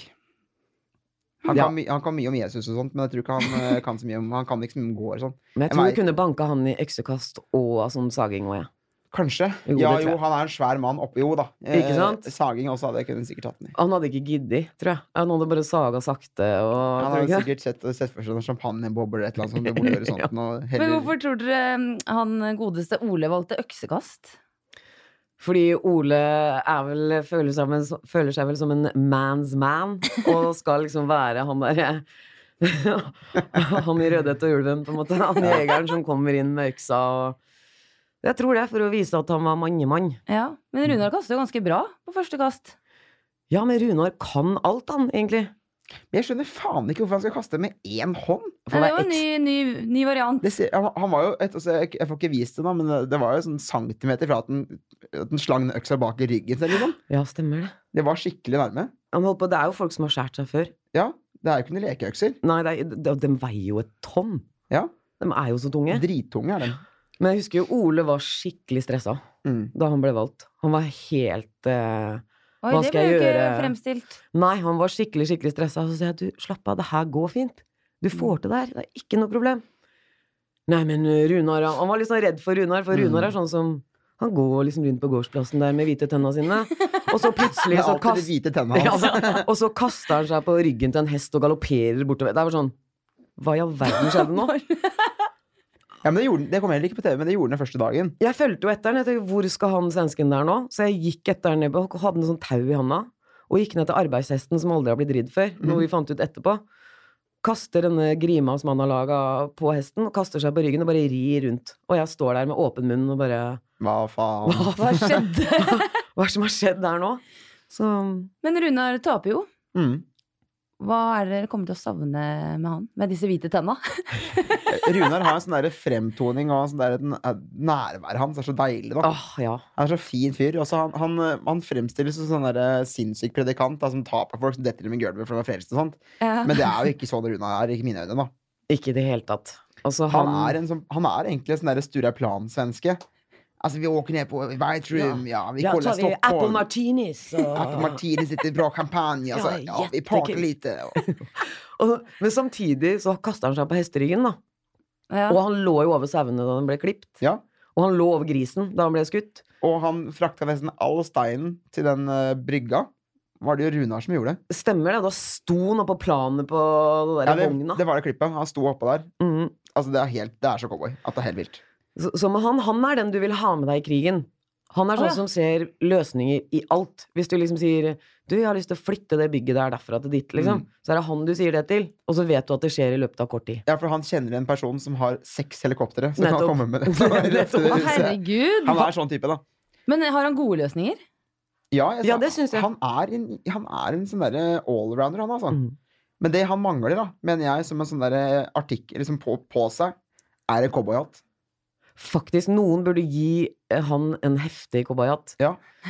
S3: Han,
S2: Ja.
S3: kan, my- han kan mye om Jesus og sånt, men jeg tror ikke han eh, kan så mye om Han kan liksom gå og sånn.
S2: Men jeg
S3: Jeg
S2: tror
S3: vet-
S2: du kunne banka han i øksekast og sånn saging òg, jeg.
S3: Kanskje.
S2: Jo, det
S3: ja,
S2: tror jeg.
S3: jo, han er en svær mann oppe. Jo da. Eh,
S2: Ikke sant?
S3: saging også hadde jeg kunnet sikkert tatt den i.
S2: Han hadde ikke giddet, tror jeg. Han hadde bare saga sakte og
S3: Han
S2: tror du
S3: hadde
S2: ikke det?
S3: sikkert sett, sett for seg noen champagnebobler eller et eller annet sånt. hvor du gjør sånt, og
S1: Men
S3: heller-
S1: hvorfor tror dere mm, han godeste Ole valgte øksekast?
S2: Fordi Ole er vel, føler, seg vel, føler seg vel som en man's man, og skal liksom være han derre Han i Rødhette og ulven, på en måte. Han jegeren som kommer inn med øksa og Jeg tror det, for å vise at han var mannemann.
S1: Ja. Men Runar kastet jo ganske bra på første kast.
S2: Ja, men Runar kan alt, han, egentlig.
S3: Men Jeg skjønner faen ikke hvorfor han skal kaste med én hånd.
S2: For
S1: Nei, Eh, det
S2: å være
S1: var en ny,
S2: ekstra-
S1: ny, ny variant.
S3: Det ser, han, han var jo et, altså, jeg, jeg får ikke vist det, da, men det- det var jo sånn centimeter fra at den, at den slang den øksa bak i ryggen. sin, Liksom.
S2: Ja, stemmer det.
S3: Det var skikkelig nærme.
S2: Han holdt på, det er jo folk som har skåret seg før.
S3: Ja, det er jo ikke noen lekeøkser.
S2: Nei, det er, de, de veier jo et tonn.
S3: Ja.
S2: De er jo så tunge.
S3: Drittunge er den.
S2: Men jeg husker jo Ole var skikkelig stressa
S3: Mm.
S2: da han ble valgt. Han var helt
S1: Oi,
S2: eh, Hva
S1: det
S2: skal
S1: ble jo
S2: jeg
S1: ikke
S2: gjøre?
S1: fremstilt.
S2: Nei, han var skikkelig, skikkelig stressa. Så sa jeg, du, slapp av, det her går fint. Du
S3: Mm.
S2: får til det her, det er ikke noe problem. Nei, men eh, Runar, han han var litt sånn redd for Runar, for
S3: Mm.
S2: Runar er sånn som han går liksom rundt på gårdsplassen der med hvite tenna sine, og så
S3: Det
S2: plutselig
S3: er
S2: så
S3: alltid de
S2: kast...
S3: hvite tennene
S2: Ja, altså.
S3: hans.
S2: og så kaster han seg på ryggen til en hest og galopperer bortover. Det var sånn Hva i all verden skjedde nå?
S3: Ja, men det, gjorde, den- det kom heller ikke på TV, men det gjorde den den første dagen.
S2: Jeg fulgte jo etter den. Jeg tenkte, hvor skal han svensken der nå? Så jeg gikk etter den ned og hadde en sånn tau i handa. Og gikk ned til arbeidshesten som aldri har blitt ridd før,
S3: Mhm.
S2: noe vi fant ut etterpå. Kaster denne grima som han har laga på hesten, og kaster seg på ryggen og bare rir rundt. Og jeg står der med åpen munn og bare
S3: Hva faen?
S2: Hva,
S1: Hva skjedde?
S2: hva er det som har skjedd der nå? Så
S1: Men Runar taper jo.
S3: Mm.
S1: Hva er det dere kommer til å savne med han? Med disse hvite tenna?
S3: Runar har en sånn der fremtoning og en sånn der, den- eh, nærværet hans er så deilig. Da.
S2: Åh, ja.
S3: Han er så fin fyr. Og så han, han, eh, han fremstilles som sånn der, eh, sinnssyk predikant da, som taper folk som detter i med gulvet for å være frelst og sånt.
S1: Ja.
S3: Men det er jo ikke sånn Runar er, ikke i mine øyne. da
S2: Ikke i det hele tatt. Altså,
S3: Han er, en sånn, han er egentlig en sånn der Stureplan-svenske. Altså, vi åker ned på White Room, ja, vi
S2: ja, tar
S3: kollar
S2: vi Apple
S3: Stockholm.
S2: martinis
S3: Apple
S2: og
S3: Martini sitter bra champagne, altså,
S2: Ja,
S3: ja, vi parter
S2: jättekul.
S3: lite.
S2: Og- Men samtidig så kaster han seg på hesteryggen, da.
S1: Ja.
S2: Og han lå jo over sauene da han ble klipt.
S3: Ja.
S2: Og han lå over grisen da han ble skutt.
S3: Og han frakta nesten all steinen til den eh, brygga. Var det jo Runar som gjorde det?
S2: Stemmer det? Da sto han oppå planet på den der
S3: Ja, det,
S2: vogna.
S3: det var det klippet. Han sto oppå der.
S2: Mm.
S3: Altså, det, er helt, det er så cowboy at det er helt vilt.
S2: Så, så men han, han er den du vil ha med deg i krigen. Han er
S1: Å,
S2: sånn
S1: ja.
S2: som ser løsninger i alt. Hvis du liksom sier 'du, jeg har lyst til å flytte det bygget der derfra til ditt', liksom,
S3: Mm.
S2: så er det han du sier det til. Og så vet du at det skjer i løpet av kort tid.
S3: Ja, for han kjenner en person som har seks helikoptre. Så kan han
S2: Nettopp.
S3: komme med det. Så det er rett i det
S2: Nettopp.
S1: Å,
S3: huset.
S1: herregud!
S3: Han er sånn type, da.
S1: Men har han gode løsninger?
S3: Ja, jeg,
S2: Ja, det syns jeg.
S3: Han er en, han er en sånn derre allrounder, han, altså.
S2: Mm.
S3: Men det han mangler, da, mener jeg, som en sånn derre artikkel liksom på, på seg, er en cowboyhatt.
S2: Faktisk, noen burde gi eh, han en heftig cowboyhatt.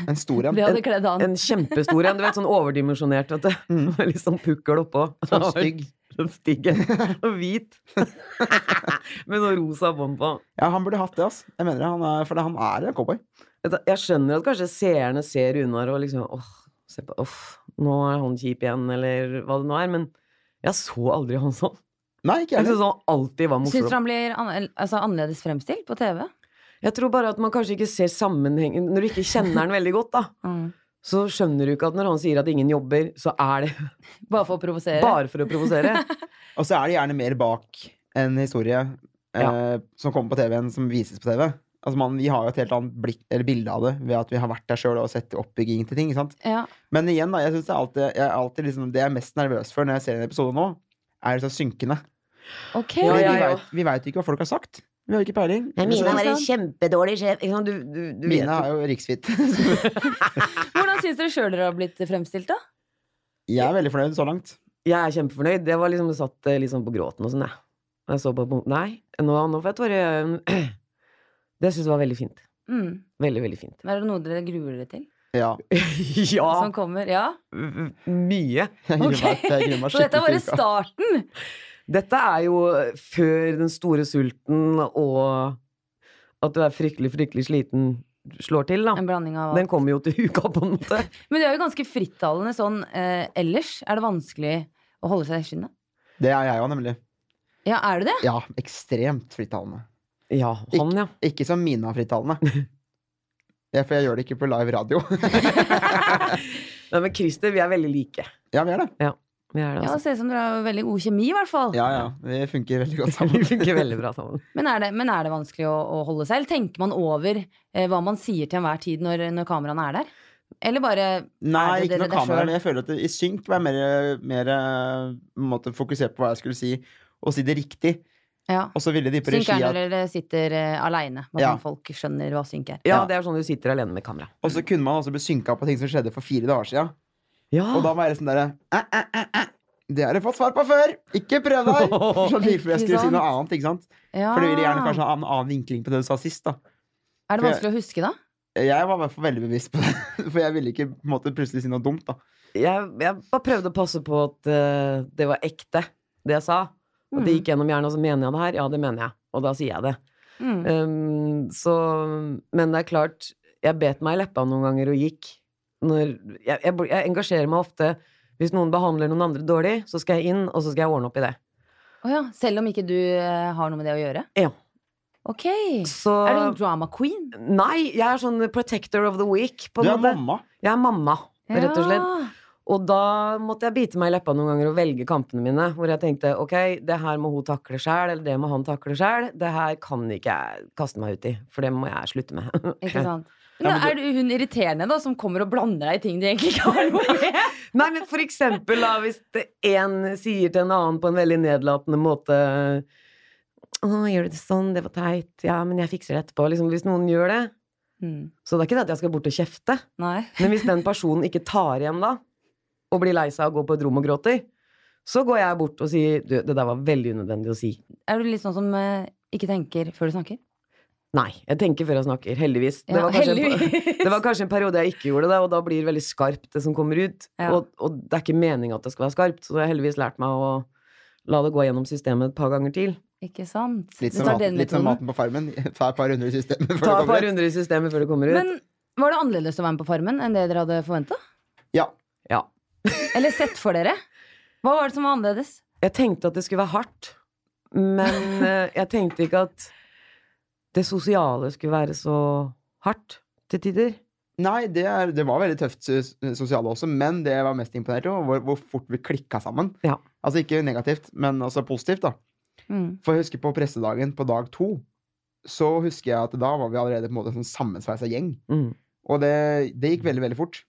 S3: En stor en.
S1: Det hadde kledd han.
S2: En kjempestor en, du vet, sånn overdimensjonert, vet du.
S3: Mm.
S2: Med litt sånn pukkel oppå.
S3: Sånn stygg.
S2: Sånn stygg en. Og hvit. Med noe rosa bånd på.
S3: Ja, han burde hatt det, ass. Jeg mener det. Han er, for det, han er en cowboy.
S2: Vet du, Jeg skjønner at kanskje seerne ser Runar og liksom åh, se på, åh, nå er han kjip igjen, eller hva det nå er, men jeg så aldri han sånn.
S3: Nei, ikke
S2: Jeg
S3: jeg.
S2: syns han alltid var
S1: Syns du
S2: morsom.
S1: han blir an altså, annerledes fremstilt på TV?
S2: Jeg tror bare at man kanskje ikke ser sammenhengen Når du ikke kjenner han veldig godt, da,
S1: Mm.
S2: så skjønner du ikke at når han sier at ingen jobber, så er det
S1: Bare for å provosere?
S2: bare for å provosere.
S3: Og så er det gjerne mer bak en historie eh,
S2: Ja.
S3: som kommer på TV enn som vises på TV. Altså, man, vi har jo et helt annet blikk, eller bilde av det ved at vi har vært der sjøl og sett oppbyggingen til ting. ikke sant?
S1: Ja.
S3: Men igjen, da, jeg synes det er alltid, jeg er alltid liksom, det jeg er mest nervøs for når jeg ser en episode nå, er liksom synkende.
S1: Ok.
S2: Ja,
S3: Fordi
S2: ja,
S3: vi
S2: ja.
S3: vet- Vi veit jo ikke hva folk har sagt. Vi har jo ikke peiling.
S1: Mina
S3: Så-
S1: var en
S2: kjempedårlig sjef. Ikke sant? Du, du, du vet
S3: Mina
S2: jo.
S3: er jo riksfit.
S1: Hvordan syns dere sjøl dere har blitt fremstilt, da?
S3: Jeg er veldig fornøyd så langt.
S2: Jeg er kjempefornøyd. Det var liksom, satt eh, litt sånn på gråten og sånn, jeg. Jeg så på Nei, nå, nå får jeg tårer. Det syns jeg var veldig fint.
S1: Mm.
S2: Veldig, veldig fint.
S1: Er det noe dere gruer dere til?
S3: Ja.
S2: ja!
S1: Som kommer? Ja?
S2: Mye.
S3: Jeg gruer
S1: Ok.
S3: meg- jeg gruer meg
S1: Så dette er
S3: skikkelig
S1: bare
S3: til uka.
S1: starten!
S2: Dette er jo eh, før den store sulten og at du er fryktelig, fryktelig sliten slår til, da.
S1: En blanding av
S2: Den kommer jo til uka, på en måte.
S1: Men du er jo ganske frittalende sånn eh, ellers. Er det vanskelig å holde seg i skinnet?
S3: Det er jeg òg, nemlig.
S1: Ja, er du det?
S3: Ja, ekstremt frittalende.
S2: Ja, han, ja.
S3: Ikke som Mina er frittalende. Ja, for jeg gjør det ikke på live radio.
S2: Nei, men Christer, vi er veldig like.
S3: Ja, vi er det.
S2: Vi er det,
S1: Ja,
S2: altså.
S1: det ser ut som dere har veldig god kjemi, i hvert fall.
S3: Ja, ja. Vi funker veldig godt
S2: Vi
S3: sammen.
S2: funker veldig bra sammen.
S1: Men, er det, men er det vanskelig å, å holde seg? Eller tenker man over eh, hva man sier til enhver tid når, når kameraene er der? Eller bare
S3: Nei,
S1: Er det
S3: ikke noe
S1: dere
S3: kamera.
S1: selv?
S3: Men jeg føler at det, i synk var jeg mer, mer eh, måtte fokusere på hva jeg skulle si, og si det riktig.
S1: ja.
S3: Og så ville de på
S1: Synk
S3: regi
S1: er
S3: at
S1: når dere sitter uh, aleine, bare
S3: Ja.
S1: sånn folk skjønner hva synk er.
S2: Ja,
S3: Ja.
S2: det er sånn du sitter alene med kamera.
S3: Og så kunne man også bli synka på ting som skjedde for fire dager sia.
S2: Ja.
S3: Og da var jeg sånn derre "Æ, æ, æ, æ. eh, Det har du fått svar på før! Ikke prøv deg! Sånn tilfelle jeg
S1: Ikke
S3: skulle si noe
S1: sant? Ah.
S3: annet, ikke sant?
S1: Ja.
S3: For du ville gjerne kanskje ha en annen vinkling på det du sa sist, da.
S1: Er det
S3: for jeg-
S1: vanskelig å huske, da?
S3: Jeg var i hvert fall veldig bevisst på det, for jeg ville ikke på en måte, plutselig si noe dumt, da.
S2: jeg, jeg bare prøvde å passe på at eh, det var ekte, det jeg sa. At det
S1: Mm.
S2: gikk gjennom hjernen, og så mener jeg det her? Ja, det mener jeg. Og da sier jeg det.
S1: Mm.
S2: Um, så, men det er klart, jeg bet meg i leppa noen ganger og gikk. Når, jeg, jeg, blir- jeg engasjerer meg ofte. Hvis noen behandler noen andre dårlig, så skal jeg inn, og så skal jeg ordne opp i det.
S1: Å ja. Selv om ikke du eh, har noe med det å gjøre?
S2: Ja.
S1: Ok.
S2: Så
S1: Er du en drama queen?
S2: Nei, jeg er sånn protector of the week, på
S3: Du
S2: en
S3: er
S2: måte.
S3: mamma.
S2: Jeg er mamma, rett og slett. Og da måtte jeg bite meg i leppa noen ganger og velge kampene mine. Hvor jeg tenkte ok, det her må hun takle sjæl, eller det må han takle sjæl. Det her kan ikke jeg kaste meg ut i, for det må jeg slutte med.
S1: Ikke sant?
S3: Ja,
S1: Men
S3: men
S1: da er du hun irriterende, da, som kommer og blander deg i ting de egentlig ikke har noe med?
S2: Nei, men for eksempel da, hvis det- en sier til en annen på en veldig nedlatende måte Å, gjør du det sånn? Det var teit. Ja, men jeg fikser det etterpå. Liksom, hvis noen gjør det.
S1: Mm.
S2: Så det er ikke det at jeg skal bort og kjefte.
S1: Nei.
S2: Men hvis den personen ikke tar igjen da, og blir lei seg og går på et rom og gråter, så går jeg bort og sier du, det der var veldig unødvendig å si.
S1: Er du litt sånn som eh, ikke tenker før du snakker?
S2: Nei. Jeg tenker før jeg snakker. Heldigvis. Det
S1: Ja,
S2: var kanskje en-
S1: heldigvis.
S2: Det var kanskje en periode jeg ikke gjorde det, og da blir det veldig skarpt, det som kommer ut.
S1: Ja.
S2: Og, og det er ikke meninga at det skal være skarpt, så jeg har heldigvis lært meg å la det gå gjennom systemet et par ganger til.
S1: Ikke sant?
S3: Litt
S1: Du
S3: som,
S1: tar
S3: maten,
S1: den
S3: litt som
S1: metoden.
S3: maten på farmen. Ta et par runder i systemet før
S2: Ta et
S3: du
S2: par
S3: kommer ut.
S2: runder i systemet før det kommer ut.
S1: Men var det annerledes å være med på Farmen enn det dere hadde forventa?
S3: Ja.
S2: ja.
S1: Eller sett for dere? Hva var det som var annerledes?
S2: Jeg tenkte at det skulle være hardt, men eh, jeg tenkte ikke at det sosiale skulle være så hardt til tider.
S3: Nei, det, er, det var veldig tøft eh, s- sosiale også, men det jeg var mest imponert over, var hvor fort vi klikka sammen.
S2: Ja.
S3: Altså ikke negativt, men altså positivt, da.
S1: Mm.
S3: For jeg husker på pressedagen på dag to, så husker jeg at da var vi allerede på en måte en sånn sammensveisa gjeng.
S2: Mm.
S3: Og det, det gikk veldig, veldig fort.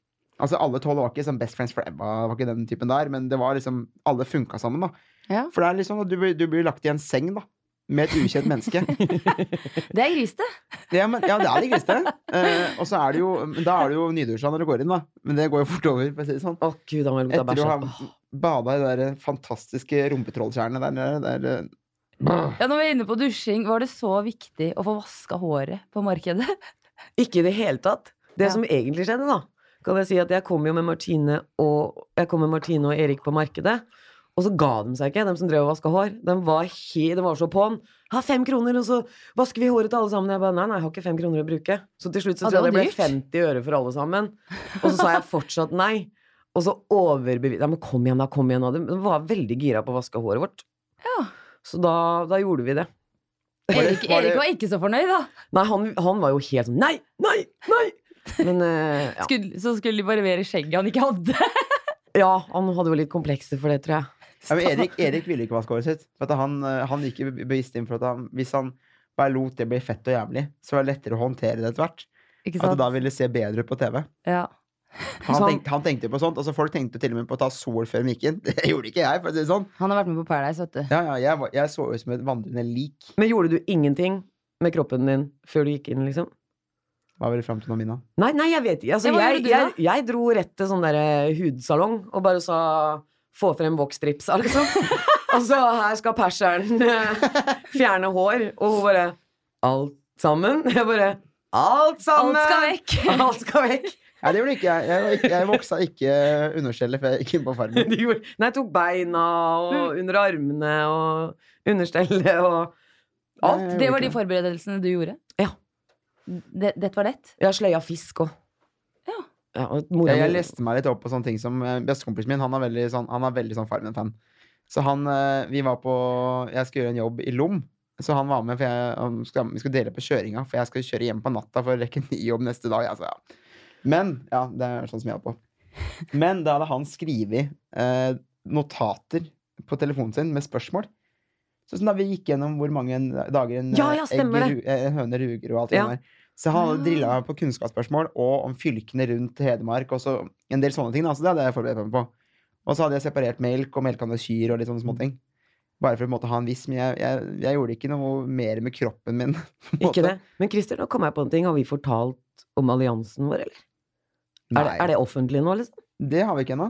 S3: Altså Alle tolv var ikke sånn best friends forever, var ikke den typen der, men det var liksom alle funka sammen, da.
S1: Ja.
S3: For det er liksom at du, blir- du blir lagt i en seng, da. Med et ukjent menneske.
S1: Det er grisete.
S3: Ja, men, ja det er det griste. Eh, og så er det jo men Da er det jo nydusja når du går inn, da. Men det går jo fort over, for å si det sånn.
S2: Å, gud, han vil lukte
S3: Etter
S2: bæsj.
S3: å ha
S2: altså.
S3: bada i det der fantastiske rumpetrolltjernet der nede der, eh,
S1: Ja, når vi er inne på dusjing, var det så viktig å få vaska håret på markedet?
S2: Ikke i det hele tatt. Det
S1: Ja.
S2: som egentlig skjedde, da, kan jeg si at jeg kom jo med Martine og, jeg kom med Martine og Erik på markedet. Og så ga de seg ikke, de som drev og vaska hår. De var, he, de var så på'n. Ha fem kroner, og så vasker vi håret til alle sammen. Jeg bare nei, nei, jeg har ikke fem kroner å bruke. Så til slutt så
S1: Ah,
S2: tror jeg
S1: det
S2: det
S1: var
S2: ble
S1: dyrt.
S2: 50 øre for alle sammen. Og så sa jeg fortsatt nei. Og så overbeviste Ja, men kom igjen, da, kom igjen. da. De var veldig gira på å vaske håret vårt.
S1: Ja.
S2: Så da, da gjorde vi det.
S3: Var det-
S1: Erik,
S3: var
S1: Erik
S3: det-
S1: var ikke så fornøyd, da.
S2: Nei, han, han var jo helt sånn nei, nei, nei! Men eh, ja.
S1: Skulle, så skulle de barbere skjegget han ikke hadde.
S2: Ja, han hadde jo litt komplekser for det, tror jeg.
S3: Ja, men Erik, Erik ville ikke vaske håret sitt. For at han, eh, han gikk jo be- bevisst inn for at han, hvis han bare lot det bli fett og jævlig, så var det lettere å håndtere det etter hvert.
S1: Ikke
S3: At det
S1: sant?
S3: da ville se bedre ut på TV.
S1: Ja.
S3: Han,
S2: Så han-
S3: tenkte, han tenkte på sånt, altså Folk tenkte til og med på å ta sol før de gikk inn. Det gjorde ikke jeg. for å si det sånn
S1: Han har vært med på Paradise, vet du.
S3: Ja, ja, jeg, var- jeg så ut som et vandrende lik.
S2: Men gjorde du ingenting med kroppen din før du gikk inn, liksom?
S3: Var vel frem til nå, Mina.
S2: Nei, nei, jeg vet ikke. Altså,
S1: Ja, hva
S2: jeg,
S1: gjorde du
S2: jeg, jeg dro rett til sånn derre hudsalong og bare sa få frem voksdripsa, liksom. altså, her skal perseren eh, fjerne hår, og hun bare alt sammen. Jeg bare alt sammen!
S1: Alt skal vekk!
S2: Alt skal vekk.
S3: Nei, det gjorde ikke jeg. Jeg, var ikke- jeg voksa ikke underskjellet før jeg gikk inn på Farmen.
S2: De gjorde, nei, tok beina
S1: Mm.
S2: og under armene og understellet og alt.
S3: Nei, jeg
S1: Det
S3: gjorde
S1: var de
S3: ikke
S1: forberedelsene du gjorde?
S2: Ja.
S1: Det, dette var lett?
S2: Jeg har sløya fisk òg.
S1: Ja.
S2: og mora
S3: Jeg, jeg
S2: mi-
S3: leste meg litt opp på sånne ting som eh, Bestekompisen min han er veldig sånn, han er veldig sånn Farmen-fan. Så han eh, Vi var på Jeg skulle gjøre en jobb i Lom. Så han var med, for jeg, han skulle, vi skulle dele på kjøringa. For jeg skal kjøre hjem på natta for å rekke ny jobb neste dag. Jeg sa ja. Men Ja, det er sånn som jeg er på. Men da hadde han skrevet eh, notater på telefonen sin med spørsmål. Sånn som da vi gikk gjennom hvor mange dager en,
S2: Ja, ja,
S3: eh,
S2: stemmer det.
S3: ru- eh, en høne ruger og alt
S2: Ja.
S3: sånt der. Så han hadde
S1: Ah.
S3: drilla meg på kunnskapsspørsmål og om fylkene rundt Hedmark. Og så en del sånne ting. da, så det hadde jeg forberedt meg på. Og så hadde jeg separert melk og melkende kyr og litt sånne
S2: Mm.
S3: småting. Bare for å på en måte, ha en viss, men jeg, jeg, jeg gjorde ikke noe mer med kroppen min. på en måte.
S2: Ikke det. Men Christer, nå kom jeg på en ting. Har vi fortalt om alliansen vår, eller?
S3: Nei,
S2: Er det, er det offentlig nå, liksom?
S3: det har vi ikke ennå.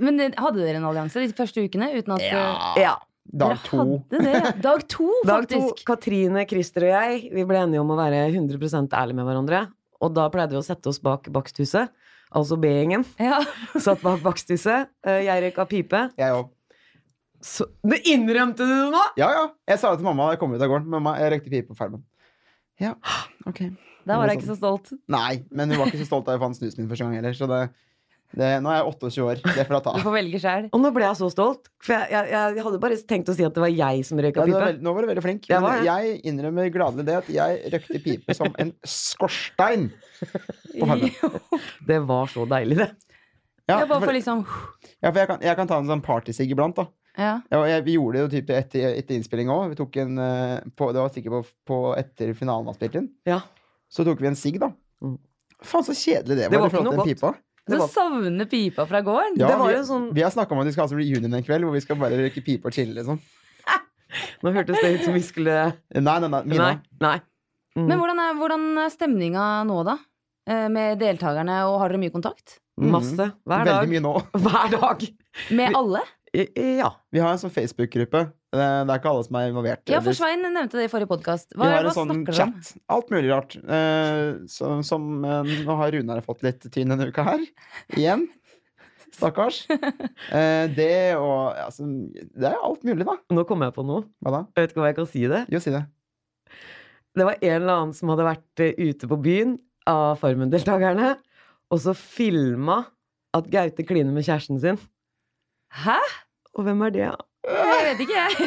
S1: Men det- hadde dere en allianse de første ukene? Uten at
S2: eh, ja.
S3: Dag
S1: dere
S3: to.
S1: Hadde det. ja. Dag to,
S2: Dag to,
S1: faktisk!
S2: Katrine, Christer og jeg, vi ble enige om å være 100 ærlige med hverandre. Og da pleide vi å sette oss bak baksthuset, altså B-gjengen.
S1: Ja.
S2: Satt bak baksthuset. eh, Jeg røyka pipe.
S3: Jeg òg.
S2: Så, det innrømte du det nå!
S3: Ja, ja. Jeg sa det til mamma da jeg kom ut av gården. Mamma, jeg røykte pipe på farmen. Ja, ok.
S1: Der var jeg ikke så stolt.
S3: Nei, men hun var ikke så stolt da jeg fant snusen min første gang heller. Så det, Det, nå er jeg 28 år. Det får jeg ta.
S1: Du får velge sjæl.
S2: Og nå ble jeg så stolt, for jeg, jeg, jeg hadde bare tenkt å si at det var jeg som
S3: Ja,
S2: røyka
S3: du
S2: pipe.
S3: var veld, nå var du veldig flink.
S2: Jeg
S3: Men
S2: var det.
S3: jeg innrømmer gladelig det at jeg røkte pipe som en skorstein. På farmen.
S2: Det var så deilig, det.
S3: Ja,
S1: bare
S3: for,
S1: for liksom
S3: ja, for jeg, kan, jeg kan ta en sånn partysigg iblant, da.
S1: Ja.
S3: Ja, og jeg, vi gjorde det jo typ etter, etter innspilling òg. Vi tok en eh, på, Det var sikkert på, på etter finalen var spilt inn.
S2: Ja.
S3: Så tok vi en sigg, da.
S2: Mm.
S3: Faen, så kjedelig det var.
S2: Det var
S3: i forhold
S2: ikke
S3: til
S2: noe
S3: den pipa.
S2: Det
S1: Så
S2: var-
S1: savner pipa fra gården.
S3: Ja,
S2: det var
S3: vi-
S2: jo en sånn
S3: Vi har snakka om at vi skal ha sånn reunion en kveld hvor vi skal bare røyke pipe og chille. liksom Eh,
S2: Nå hørtes det ut som vi skulle
S3: Nei, nei, nei. Mina.
S2: Nei. nei. Mm.
S1: Men hvordan er, hvordan er stemninga nå, da? Eh, Med deltakerne, og har dere mye kontakt?
S3: Mhm.
S2: Masse. Hver
S3: Veldig
S2: dag.
S3: mye nå.
S2: Hver dag.
S1: Med alle?
S2: I- i- Ja.
S3: Vi har en sånn Facebook-gruppe. Eh, Det er ikke alle som er involvert.
S1: Ja, for
S3: heldigvis.
S1: Svein nevnte det i forrige podkast.
S3: vi
S1: Hva,
S3: har
S1: hva
S3: en sånn
S1: snakker dere om?
S3: chat. Alt mulig rart. Eh, som, som eh, Nå har Runar fått litt tynn denne uka her. Igjen. Stakkars. Eh, det og altså, Det er alt mulig, da.
S2: Nå kom jeg på noe.
S3: Hva da?
S2: Jeg vet ikke om jeg kan si det.
S3: Jo, si det.
S2: Det var en eller annen som hadde vært eh, ute på byen av Farmen-deltakerne, og så filma at Gaute kliner med kjæresten sin.
S1: Hæ?
S2: Og hvem er det?
S1: Jeg vet ikke, jeg.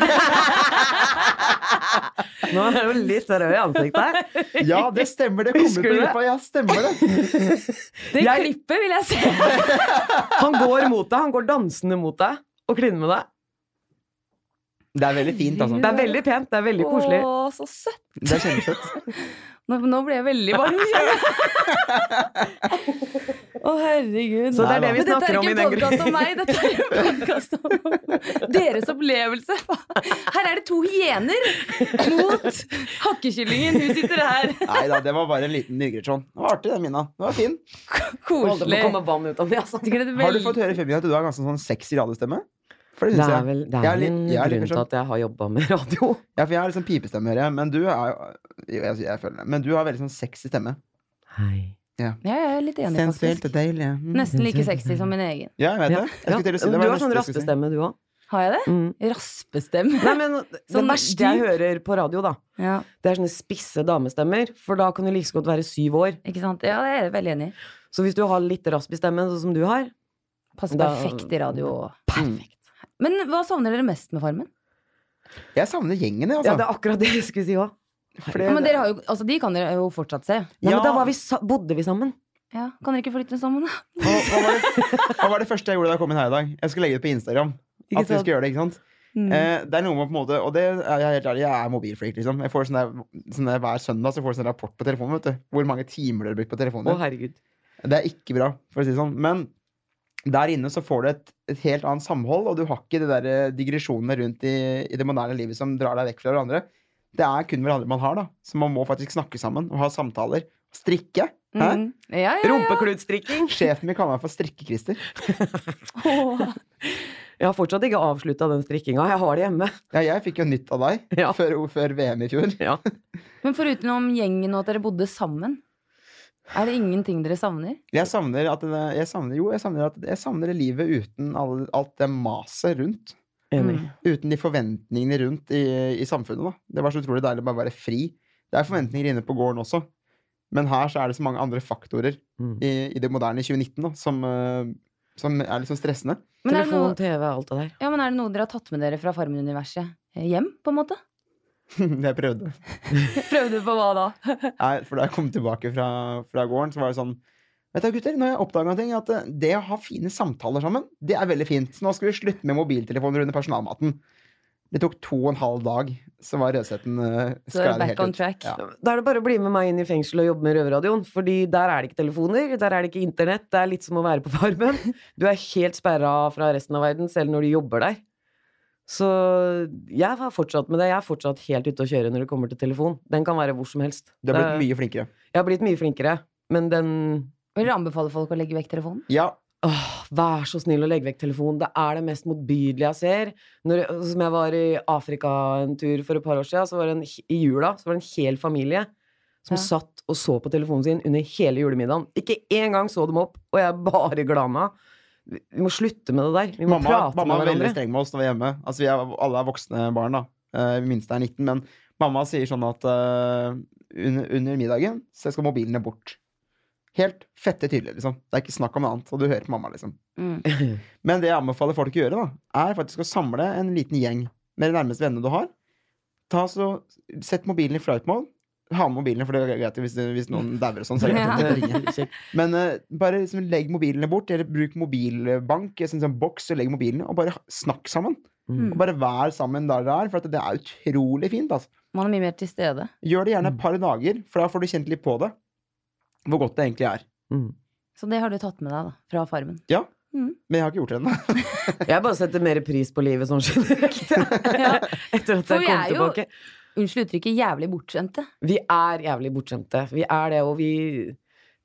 S2: Nå er jeg jo litt sånn rød i ansiktet her.
S3: Ja, det stemmer. Det kommer
S2: Husker
S3: på
S2: du det?
S3: gruppa. Ja, stemmer det.
S1: Det
S2: Jeg-
S1: klippet vil jeg se.
S2: Han går mot deg, han går dansende mot deg og kliner med deg.
S3: Det er veldig fint, altså.
S2: Det er veldig pent, det er veldig koselig.
S1: Å, så søtt.
S3: Det er kjempefett.
S1: Nå, nå ble jeg veldig varm. i kjøret. Å, herregud.
S2: Så det
S3: Nei
S2: er det
S3: da.
S2: vi
S1: Men dette
S2: snakker
S1: er
S2: om
S1: ikke en
S2: i den
S1: podkast om meg, dette er en podkast om deres opplevelse. Her er det to hyener mot hakkekyllingen. Hun sitter her.
S3: Nei da, det var bare en liten digresjon. Det var artig, det, Mina. Det var fin.
S2: Holder på
S1: Koselig.
S2: å komme vann ut av det, altså.
S1: Sikkert et
S3: Har du
S1: veldig-
S3: fått høre i Femina at du har ganske sånn sexy radiostemme? For det
S2: Det
S3: syns
S2: er
S3: jeg.
S2: vel det
S3: Jeg er
S2: er
S3: litt-
S2: en
S3: jeg er
S2: grunn
S3: litt
S2: til
S3: beskjemmet.
S2: at jeg har jobba med radio.
S3: Ja, for jeg har liksom pipestemme, hører jeg. Men du er jo jeg, jeg føler det. Men du har veldig sånn sexy stemme.
S2: Hei.
S1: Ja, jeg er litt enig,
S3: Sensuelt
S1: faktisk.
S3: og deilig. Mm.
S1: Nesten like sexy som min egen.
S3: Ja, jeg vet
S2: Ja.
S3: det. Jeg
S2: Ja.
S3: skulle til å si-
S2: Du
S3: det var
S2: har
S3: det
S2: sånn
S3: neste jeg skulle si.
S2: raspestemme, du òg.
S1: Har jeg det?
S2: Mm.
S1: Raspestemme.
S2: Nei, men det
S1: Sånn
S2: verste jeg hører på radio, da,
S1: Ja,
S2: det er sånne spisse damestemmer. For da kan du like så godt være syv år.
S1: ikke sant? Ja, det er jeg veldig enig i.
S2: Så hvis du har litt rasp i stemmen, sånn som du har
S1: Passer
S2: Da-
S1: perfekt i radio.
S3: Perfekt.
S1: Men hva savner dere mest med Farmen?
S3: Jeg savner gjengen, jeg,
S2: Ja, det
S3: altså.
S2: er akkurat det jeg skulle si òg.
S3: For det-
S1: Ja, men dere har jo, altså, de kan dere jo fortsatt se.
S2: Ja,
S3: Ja.
S2: men da var vi sa bodde vi sammen.
S1: Ja, Kan dere ikke flytte sammen, da?
S3: hva, hva, var det, hva var det første jeg gjorde da jeg kom inn her i dag? Jeg skulle legge det på Instagram.
S2: Ikke
S3: At vi
S2: sant? Mm.
S3: skulle gjøre det, ikke sant? Eh, det er noe med på en måte Og det er jeg helt ærlig, jeg er mobilflik, liksom. Jeg får sånn der, sånn der Hver søndag så får jeg sånn rapport på telefonen, vet du. Hvor mange timer du har brukt på telefonen.
S2: Å,
S3: din.
S2: herregud.
S3: Det er ikke bra, for å si det sånn. Men der inne så får du et, et helt annet samhold, og du har ikke de der eh, digresjonene rundt i, i det moderne livet som drar deg vekk fra hverandre. Det er kun hverandre man har, da. Så man må faktisk snakke sammen og ha samtaler. Strikke. Hæ?
S1: Mm. Ja, ja, ja.
S2: Rumpeklutstrikking.
S3: Sjefen min kaller meg for Strikke-Christer.
S1: Åh.
S2: Jeg har fortsatt ikke avslutta den strikkinga. Jeg har det hjemme.
S3: Ja, jeg fikk jo nytt av deg
S2: Ja.
S3: før, før VM i fjor.
S2: Ja.
S1: Men foruten om gjengen og at dere bodde sammen, er det ingenting dere savner?
S3: Jeg savner at det, jeg savner, Jo, jeg savner, at, jeg savner det livet uten all, alt det maset rundt.
S2: Enig.
S1: Mm.
S3: Uten de forventningene rundt i, i samfunnet. da Det var så utrolig deilig å bare være fri. Det er forventninger inne på gården også, men her så er det så mange andre faktorer
S2: Mm.
S3: i, i det moderne 2019 da, som, eh, som er litt sånn stressende.
S1: Men, er det
S2: Telefon,
S1: noe,
S2: TV, alt det der.
S1: ja, men er det noe dere har tatt med dere fra Farmen-universet eh, hjem, på en måte?
S3: jeg prøvde.
S1: Prøvde på hva da?
S3: Nei, for da jeg kom tilbake fra, fra gården, så var det sånn Vet du, gutter, nå har jeg oppdaga en ting. At eh, det å ha fine samtaler sammen, det er veldig fint. Så nå skal vi slutte med mobiltelefoner under personalmaten. Det tok to og en halv dag, så var Rødseten eh,
S1: Så er
S3: sklei
S1: det
S3: det
S1: back on
S3: helt ut.
S1: track.
S3: Ja.
S2: Da er det bare å bli med meg inn i fengsel og jobbe med Røverradioen. Fordi der er det ikke telefoner, der er det ikke internett. Det er litt som å være på Farmen. Du er helt sperra fra resten av verden, selv når du jobber der. Så jeg har fortsatt med det. Jeg er fortsatt helt ute å kjøre når det kommer til telefon. Den kan være hvor som helst.
S3: Du har
S2: Det-
S3: blitt mye flinkere.
S2: Jeg har blitt mye flinkere, men den
S1: Vil dere anbefale folk å legge vekk telefonen?
S3: Ja,
S2: Åh, vær så snill å legge vekk telefonen. Det er det mest motbydelige jeg ser. Når, som jeg var i Afrika en tur for et par år siden, så var det en, i jula så var det en hel familie som
S1: Ja.
S2: satt og så på telefonen sin under hele julemiddagen. Ikke én gang så dem opp, og jeg er bare glad meg. Vi vi må slutte med det der. Vi må
S3: mamma,
S2: prate
S3: mamma
S2: med
S3: er veldig
S2: hverandre.
S3: streng med oss når vi er hjemme. Altså, vi er, alle er voksne barn, da. Eh, minste er 19. Men mamma sier sånn at eh, under, under middagen så skal mobilene bort. Helt fette tydelig, liksom. Det er ikke snakk om noe annet. Og du hører på mamma, liksom.
S1: Mm.
S3: Men det jeg anbefaler folk å gjøre, da, er faktisk å samle en liten gjeng med de nærmeste vennene du har. Ta så, sett mobilen i flight mode. Ha med mobilene, for det er greit hvis, hvis noen dauer og sånn. Så er det greit at det ringer. Men eh, bare liksom legg mobilene bort, eller bruk mobilbank, en sånn, sånn boks, og legg mobilene, og bare snakk sammen.
S1: Mm.
S3: Og bare vær sammen der dere er, for at det er utrolig fint. Altså.
S1: Man er mye mer til stede.
S3: Gjør det gjerne
S2: Mm.
S3: et par dager, for da får du kjent litt på det. Hvor godt det egentlig er.
S2: Mm.
S1: Så det har du tatt med deg da, fra Farmen.
S3: Men jeg har ikke gjort det ennå.
S2: Jeg bare setter mer pris på livet sånn generelt. Etter at
S1: For vi
S2: jeg kom
S1: er jo-
S2: tilbake.
S1: Unnskyld uttrykket, jævlig bortskjemte.
S2: Vi er jævlig bortskjemte. Vi er det, og vi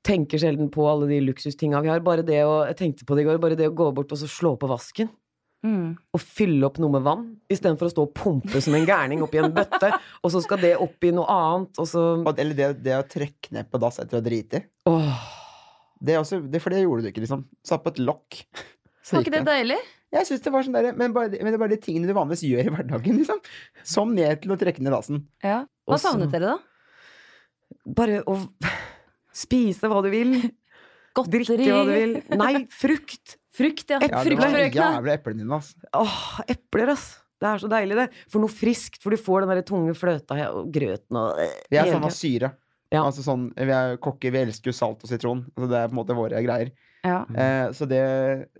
S2: tenker sjelden på alle de luksustinga vi har. Bare det å, jeg tenkte på det i går, bare det å gå bort og så slå på vasken.
S1: Mm.
S2: Og fylle opp noe med vann, istedenfor å stå og pumpe som en gærning oppi en bøtte. Og så skal det oppi noe annet, og så
S3: Og- Eller det, det å trekke ned på dass etter å drite i.
S2: Åh.
S3: Det, er også- det, for det gjorde du ikke, liksom. Satt på et lokk. Så
S1: Var
S3: gikk
S1: ikke det
S3: det.
S1: deilig?
S3: Jeg synes det var sånn der, men, bare, men det er bare de tingene du vanligvis gjør i hverdagen. Liksom. Som ned til å trekke ned dassen.
S1: Ja. Hva
S2: Og så-
S1: savnet dere, da?
S2: Bare å spise hva du vil.
S1: Godteri?
S2: Drikke hva du vil. Nei, frukt!
S1: Frukt, ja.
S2: Et
S3: Ja, det var
S1: Fruktfrøkene.
S3: jævlig eplene dine, ass.
S2: Åh, epler, ass. Det er så deilig, det. For noe friskt, for du får den der tunge fløta og grøten og
S3: Vi er
S2: hele
S3: samme
S2: tiden.
S3: syre.
S2: Ja.
S3: Altså sånn, vi er kokker, vi elsker jo salt og sitron. Altså det er på en måte våre greier.
S1: Ja.
S3: Eh, så det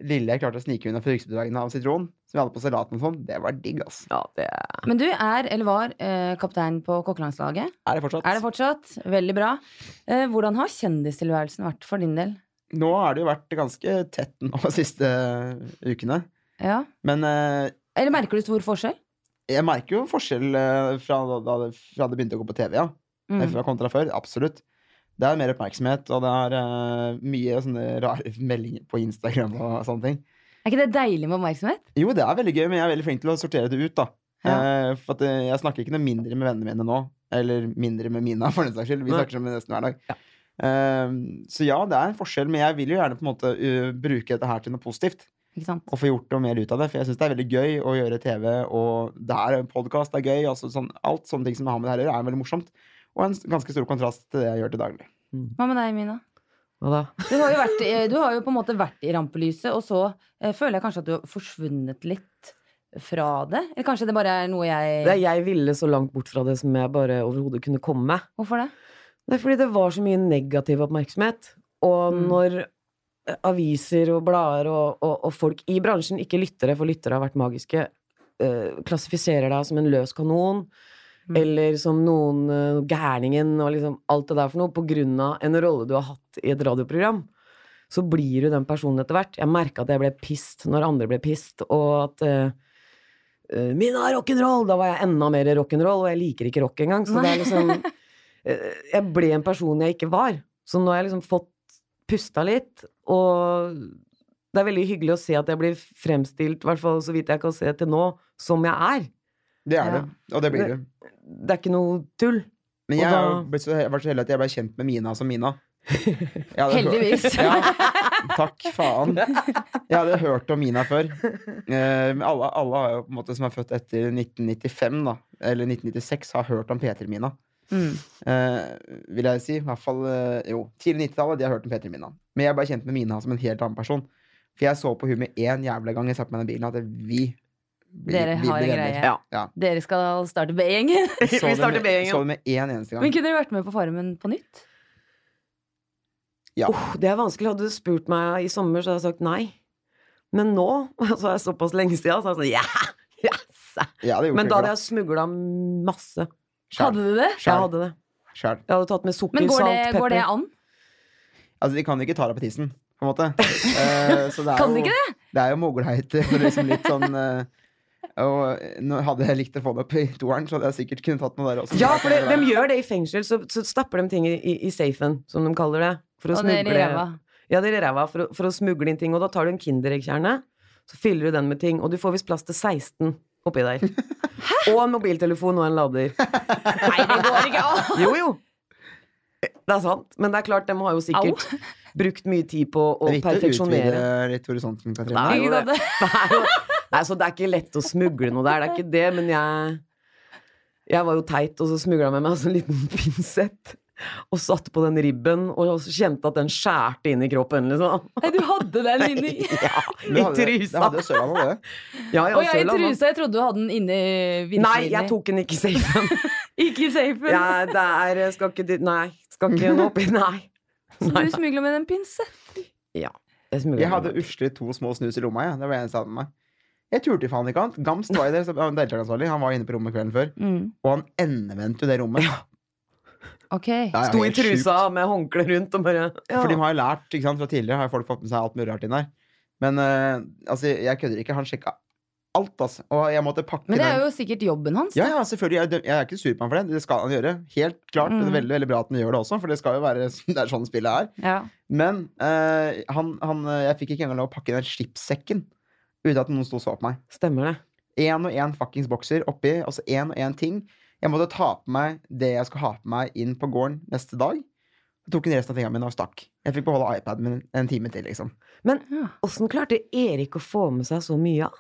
S3: lille jeg klarte å snike unna fruktsbedragene av sitron, som vi hadde på salaten og sånn, det var digg, ass.
S2: Ja, det er
S1: Men du er, eller var, eh, kaptein på kokkelandslaget.
S3: Er det fortsatt?
S1: Er det fortsatt? Veldig bra. Eh, Hvordan har kjendistilværelsen vært for din del?
S3: Nå har det jo vært ganske tett nå de siste eh, ukene.
S1: Ja.
S3: Men eh,
S1: Eller merker du stor forskjell?
S3: jeg merker jo forskjell eh, fra da, da det- fra det begynte å gå på TV, ja.
S1: Mm.
S3: Fra kontra før. Absolutt. Det er mer oppmerksomhet, og det er eh, mye sånne rare meldinger på Instagram og sånne ting.
S1: Er ikke det deilig med oppmerksomhet?
S3: Jo, det er veldig gøy, men jeg er veldig flink til å sortere det ut, da.
S1: Ja.
S3: Eh, for at eh, jeg snakker ikke noe mindre med vennene mine nå. Eller mindre med Mina, for den saks skyld. Vi
S2: Nei.
S3: snakker sammen nesten hver dag. Eh, så ja, det er en forskjell, men jeg vil jo gjerne på en måte eh, bruke dette her til noe positivt.
S1: Ikke sant?
S3: Og få gjort noe mer ut av det, for jeg syns det er veldig gøy å gjøre TV, og det her er en podkast, det er gøy. Altså, sånn, alt sånne ting som har med det her å gjøre, er veldig morsomt. Og en s- ganske stor kontrast til det jeg gjør til daglig.
S1: Hva med deg, Mina?
S2: Hva da?
S1: Du har jo, vært, eh, du har jo på en måte vært i rampelyset, og så eh, føler jeg kanskje at du har forsvunnet litt fra det? Eller kanskje det bare er noe jeg
S2: Det er jeg ville så langt bort fra det som jeg bare overhodet kunne komme.
S1: Hvorfor det?
S2: Det er fordi det var så mye negativ oppmerksomhet. Og
S1: Mm.
S2: når eh, aviser og blader og, og, og folk i bransjen, ikke lyttere, for lyttere har vært magiske, eh, klassifiserer deg som en løs kanon,
S1: Mm.
S2: eller som noen eh, gærningen, og liksom alt det der for noe, på grunn av en rolle du har hatt i et radioprogram, så blir du den personen etter hvert. Jeg merka at jeg ble pissed når andre ble pissed, og at eh, eh, Mina er rock'n'roll! Da var jeg enda mer rock'n'roll, og jeg liker ikke rock engang. Så det er liksom eh, Jeg ble en person jeg ikke var. Så nå har jeg liksom fått pusta litt, og det er veldig hyggelig å se at jeg blir fremstilt, i hvert fall så vidt jeg kan se til nå, som jeg er.
S3: Det er
S1: Ja.
S3: det, og det blir
S2: Det-
S3: du.
S2: Det er ikke noe tull.
S3: Men
S2: Og
S3: jeg har jo
S2: da-
S3: blitt så- jeg har vært så heldig at jeg ble kjent med Mina som Mina. Jeg hadde hørt-
S1: Heldigvis.
S3: Ja, takk faen. Jeg hadde hørt om Mina før. Eh, Men alle, alle har jo på en måte som er født etter 1995, da, eller 1996, har hørt om P3-Mina.
S1: Mm.
S3: Eh, vil jeg si. I hvert fall eh, jo, tidlig 90-tallet de har hørt om Peter Mina. Men jeg ble kjent med Mina som en helt annen person. For jeg så på hun med én jævla gang jeg satte meg i den bilen, at vi blir-
S1: Dere
S3: vi
S1: har en
S3: blir
S1: greie.
S3: venner.
S2: Ja.
S3: Ja.
S1: Dere skal starte B-gjengen.
S3: Så
S2: Vi
S3: det
S2: starter
S3: med-
S2: B-gjengen.
S3: Så det med én eneste gang.
S1: Men kunne dere vært med på Farmen på nytt?
S3: Ja.
S2: Åh, det er vanskelig. Hadde du spurt meg i sommer, så hadde jeg sagt nei. Men nå, så er det såpass lenge siden, så er jeg sånn ja! Yes!
S3: Jeg hadde gjort
S2: Men
S3: det
S2: da
S3: for
S2: hadde jeg smugla masse.
S3: Sjæl.
S1: Hadde du det?
S2: Jeg
S3: Sjæl.
S2: hadde det.
S3: Sjæl.
S2: Jeg hadde tatt med
S1: Men
S2: sukker,
S1: går det,
S2: salt,
S1: går det
S2: pepper.
S1: an?
S3: Altså, de kan jo ikke ta deg på tissen, på en måte. Eh, så det er
S1: Kan de
S3: jo,
S1: ikke
S3: det? Det er jo mogolheit. eh, så Liksom litt sånn eh, og nå hadde jeg likt å få det opp i toeren, så hadde jeg sikkert kunnet tatt noe der også.
S2: Ja, for det, de gjør det i fengsel. Så, så stapper de ting i, i, i safen, som de kaller det. For å
S1: Og dere i
S2: smugle
S1: ræva.
S2: Ja, det er i ræva for, å- for å smugle inn ting. Og da tar du en Kindereggkjerne, så fyller du den med ting. Og du får visst plass til 16 oppi der. Og en mobiltelefon og en lader.
S1: Nei, det går ikke an!
S2: Jo, jo! Det er sant. Men det er klart, de har jo sikkert brukt mye tid på å
S3: Det er viktig å
S2: perfeksjonere.
S3: utvide litt horisonten, Katrine.
S2: Nei,
S1: Ikke
S2: jo,
S1: sant?
S2: det, det er jo, nei, så det er ikke lett å smugle noe der. Det er ikke det, men jeg Jeg var jo teit, og så smugla jeg med meg en sånn liten pinsett. og satte på den ribben, og kjente at den skjærte inn i kroppen, liksom.
S1: Nei, du hadde den inni
S2: Ja,
S3: Men det
S2: i
S3: hadde- Det
S2: trusa.
S3: hadde jo Sørlandet òg, det.
S1: Å
S2: Ja,
S1: ja, i
S2: Sørlandet.
S1: trusa. Jeg trodde du hadde den inni vinduet.
S2: Nei, jeg tok den ikke i safen.
S1: Ikke i safen.
S2: Jeg, det er, skal ikke dit Nei. Skal ikke nå oppi Nei.
S1: Så
S2: Nei,
S1: du smugla med en pinsett.
S2: det er smuglet.
S3: Jeg hadde usle to små snus i lomma. Jeg. Det var det eneste jeg hadde med meg. Jeg turte faen ikke annet. Gamst var jo der, som- han var deltakeransvarlig. Han var inne på rommet kvelden før, og han endevendte jo det rommet.
S1: Mm. Ok.
S3: Det er jo
S2: Sto i
S3: helt sjukt.
S2: trusa med håndkle rundt og bare ja.
S3: For de har jo lært ikke sant, fra tidligere, har jo folk fått med seg alt mulig rart inn der. Men eh, altså, jeg kødder ikke. Han sjekka alt, altså. Og jeg måtte pakke
S1: Men det
S3: den-
S1: er jo sikkert jobben hans.
S3: Ja, ja, selvfølgelig. Jeg, døm- jeg er ikke sur på ham for det. Det skal han gjøre. Helt klart. Det
S1: Mm.
S3: er veldig, veldig bra at han gjør det også, for det skal jo være det er sånn spillet er.
S1: Ja.
S3: Men eh, han, han, eh, jeg fikk ikke engang lov å pakke den skipssekken uten at noen sto og så på meg.
S2: Stemmer det.
S3: Én og én fuckings bokser oppi, og så én og én ting. Jeg måtte ta på meg det jeg skulle ha på meg inn på gården neste dag. Så tok hun resten av tingene mine og stakk. Jeg fikk beholde iPaden min en time til, liksom.
S1: Ja.
S2: Åssen klarte Erik å få med seg så mye av?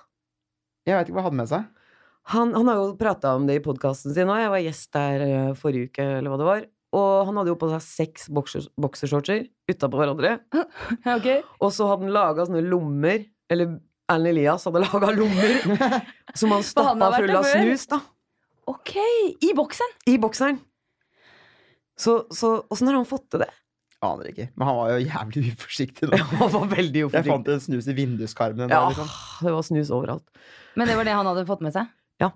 S3: Jeg vet ikke hva han hadde med seg.
S2: Han, han har jo prata om det i podkasten sin òg. Jeg var gjest der eh, forrige uke, eller hva det var. Og han hadde jo på seg seks bokser, boksershortser utapå hverandre.
S1: Ok.
S2: Og så hadde han laga sånne lommer, eller Erlend Elias hadde laga lommer, som han
S1: For han har
S2: stappa
S1: vært
S2: full
S1: der
S2: av
S1: før.
S2: snus, da.
S1: Ok, I boksen!
S2: I bokseren. Så, så åssen har han fått til det?
S3: Aner ikke. Men han var jo jævlig uforsiktig da.
S2: Han var veldig
S3: Jeg
S2: uforsiktig.
S3: fant en snus i vinduskarmen.
S2: Ja,
S3: Ja. Liksom.
S2: det var snus overalt.
S1: Men det var det han hadde fått med seg?
S2: Ja.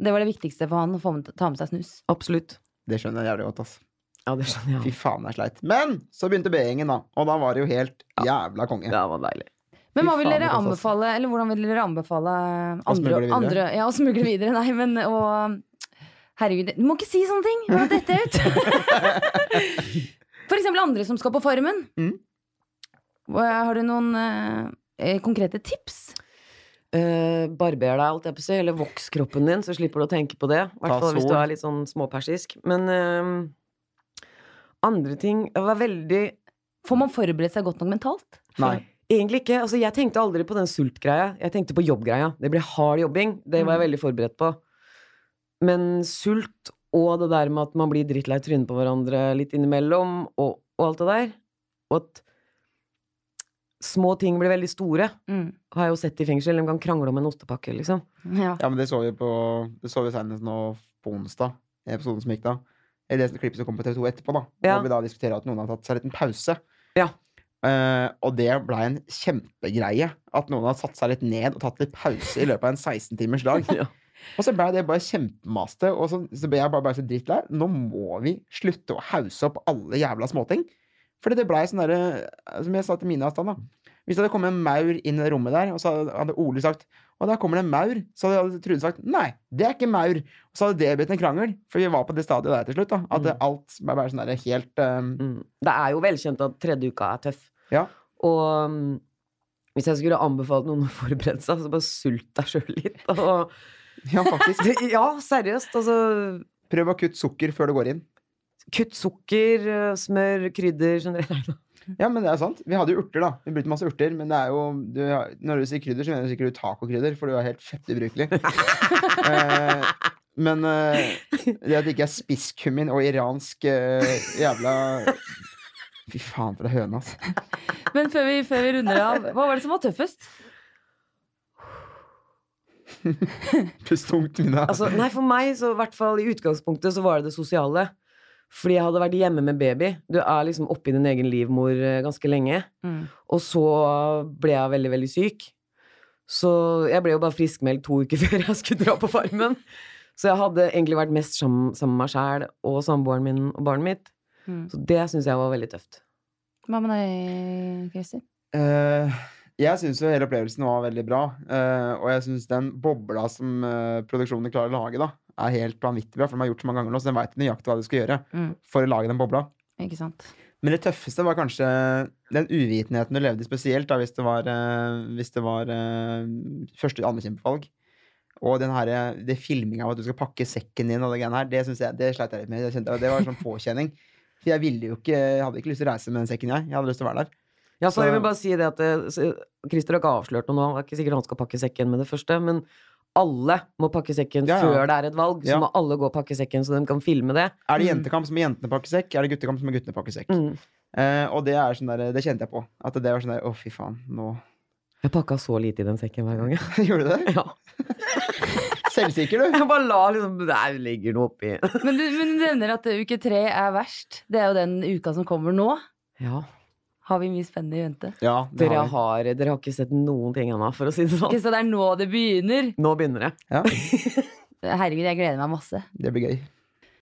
S1: Det var det viktigste for han å få med, ta med seg snus.
S2: Absolutt.
S3: Det skjønner jeg jævlig godt. ass.
S2: Ja, det skjønner
S3: Fy
S2: jeg.
S3: faen, det er sleit. Men så begynte B-gjengen, da. Og da var det jo helt jævla konge.
S2: Det var deilig.
S1: Men
S3: Fy
S1: hva vil
S3: faen,
S1: dere
S3: det koster oss.
S1: anbefale Eller hvordan vil dere anbefale
S3: Å
S1: andre,
S3: smugle videre?
S1: andre Ja, å smugle videre, nei, men å Herregud, du må ikke si sånne ting! Hva dette ut? For eksempel andre som skal på Farmen.
S3: Mm.
S1: Hva- Har du noen eh, konkrete tips?
S2: Eh, barber deg, alt jeg på å si, eller voks kroppen din, så slipper du å tenke på det. I
S3: Ta
S2: hvert fall hvis
S3: sol.
S2: du er litt sånn småpersisk. Men eh, andre ting var veldig
S1: Får man forberedt seg godt nok mentalt?
S3: Nei.
S2: Egentlig ikke. Altså, jeg tenkte aldri på den sultgreia. Jeg tenkte på jobbgreia. Det ble hard jobbing. Det
S3: Mm.
S2: var jeg veldig forberedt på. Men sult og det der med at man blir drittlei trynet på hverandre litt innimellom, og, og alt det der, og at små ting blir veldig store,
S1: Mm.
S2: har jeg jo sett i fengsel. De kan krangle om en ostepakke, liksom.
S1: Ja.
S3: Ja, men det så vi på Det så vi senest nå på onsdag. i Episoden som gikk da. Eller det klippet som kom på TV2 etterpå, da.
S2: Ja.
S3: Hvor vi da diskuterer at noen har tatt seg en liten pause.
S2: Ja.
S3: Eh, og det blei en kjempegreie. At noen har satt seg litt ned og tatt litt pause i løpet av en 16-timers dag.
S2: Ja.
S3: Og så blei det bare kjempemaste. Og så, så ble jeg bare, bare så drittlei. Nå må vi slutte å hause opp alle jævla småting. Fordi det blei sånn derre Som jeg sa til Mina i stad, da. Hvis det hadde kommet en maur inn i det rommet der, og så hadde Ole sagt og der kommer det en maur. Så hadde Trude sagt nei, det er ikke maur. Og så hadde det blitt en krangel. For vi var på det stadiet der til slutt. da At
S2: Mm.
S3: alt var bare sånn der helt um,
S2: Mm. Det er jo velkjent at tredje uka er tøff.
S3: Ja.
S2: Og mm, hvis jeg skulle anbefalt noen å forberede seg, så bare sult deg sjøl litt. Og
S3: Ja, faktisk.
S2: Det- Ja, seriøst. Altså,
S3: Prøv å kutte sukker før du går inn.
S2: kutt sukker, eh, smør, krydder generelt.
S3: Ja, men det er sant. Vi hadde jo urter, da. Vi brukte masse urter. Men det er jo du, Når du sier krydder, så mener du sikkert du tacokrydder, for du er helt fett ubrukelig. eh, men eh, det at det ikke er spisskummin og iransk eh, jævla Fy faen, for ei høne, ass.
S1: Men før vi, før vi runder av, hva var det som var tøffest?
S3: Pust tungt, Mina.
S2: Altså, nei, for meg, så i hvert fall i utgangspunktet, så var det det sosiale. Fordi jeg hadde vært hjemme med baby. Du er liksom oppi din egen livmor eh, ganske lenge.
S1: Mm.
S2: Og så ble jeg veldig, veldig syk. Så jeg ble jo bare friskmeldt to uker før jeg skulle dra på Farmen. Så jeg hadde egentlig vært mest sammen, sammen med meg sjæl og samboeren min og barnet mitt.
S1: Mm.
S2: Så det syns jeg var veldig tøft.
S1: Hva med deg, Kristin?
S3: Eh, jeg syns jo hele opplevelsen var veldig bra. eh, og jeg syns den bobla som eh, produksjonen klarer å lage, da, er helt vanvittig bra. For de har gjort så mange ganger nå, så de veit nøyaktig hva de skal gjøre
S1: Mm.
S3: for å lage den bobla.
S1: Ikke sant?
S3: Men det tøffeste var kanskje den uvitenheten du levde i spesielt da, hvis det var, eh, hvis det var eh, første allmennkjempevalg. Og den her, eh, det filminga av at du skal pakke sekken din og det greiene her, det, synes jeg, det sleit jeg litt med. Jeg kjente, det var en sånn påkjenning. For jeg ville jo ikke, jeg hadde ikke lyst til å reise med den sekken, jeg. Jeg hadde lyst til å være der.
S2: Ja, så jeg
S3: Så-
S2: eh, vil bare si det at eh, s- Christer har ikke avslørt noe nå. Det er ikke sikkert han skal pakke sekken med det første, men alle må pakke sekken
S3: Ja, ja.
S2: før det er et valg. Så
S3: Ja.
S2: må alle gå og pakke sekken, så de kan filme det.
S3: Er det
S1: Mm.
S3: jentekamp som er jentene pakker sekk? Er det guttekamp som er guttene pakker sekk?
S2: Mm.
S3: Eh, og det er sånn der, det kjente jeg på. At det var sånn der Å, fy faen, nå
S2: Jeg pakka så lite i den sekken hver gang. jeg.
S3: Gjorde du det?
S2: Ja.
S3: Selvsikker, du.
S2: Jeg bare la liksom Der ligger noe oppi.
S1: Men du, men du nevner at uke tre er verst. Det er jo den uka som kommer nå.
S2: Ja.
S1: Har vi mye spennende i vente?
S3: Ja, det
S2: Dere
S3: har vi.
S2: har, dere har ikke sett noen ting ennå, for å si det sånn.
S1: Ok, så det er nå det begynner.
S2: Nå begynner det.
S1: Herregud, jeg gleder meg masse.
S3: Det blir gøy.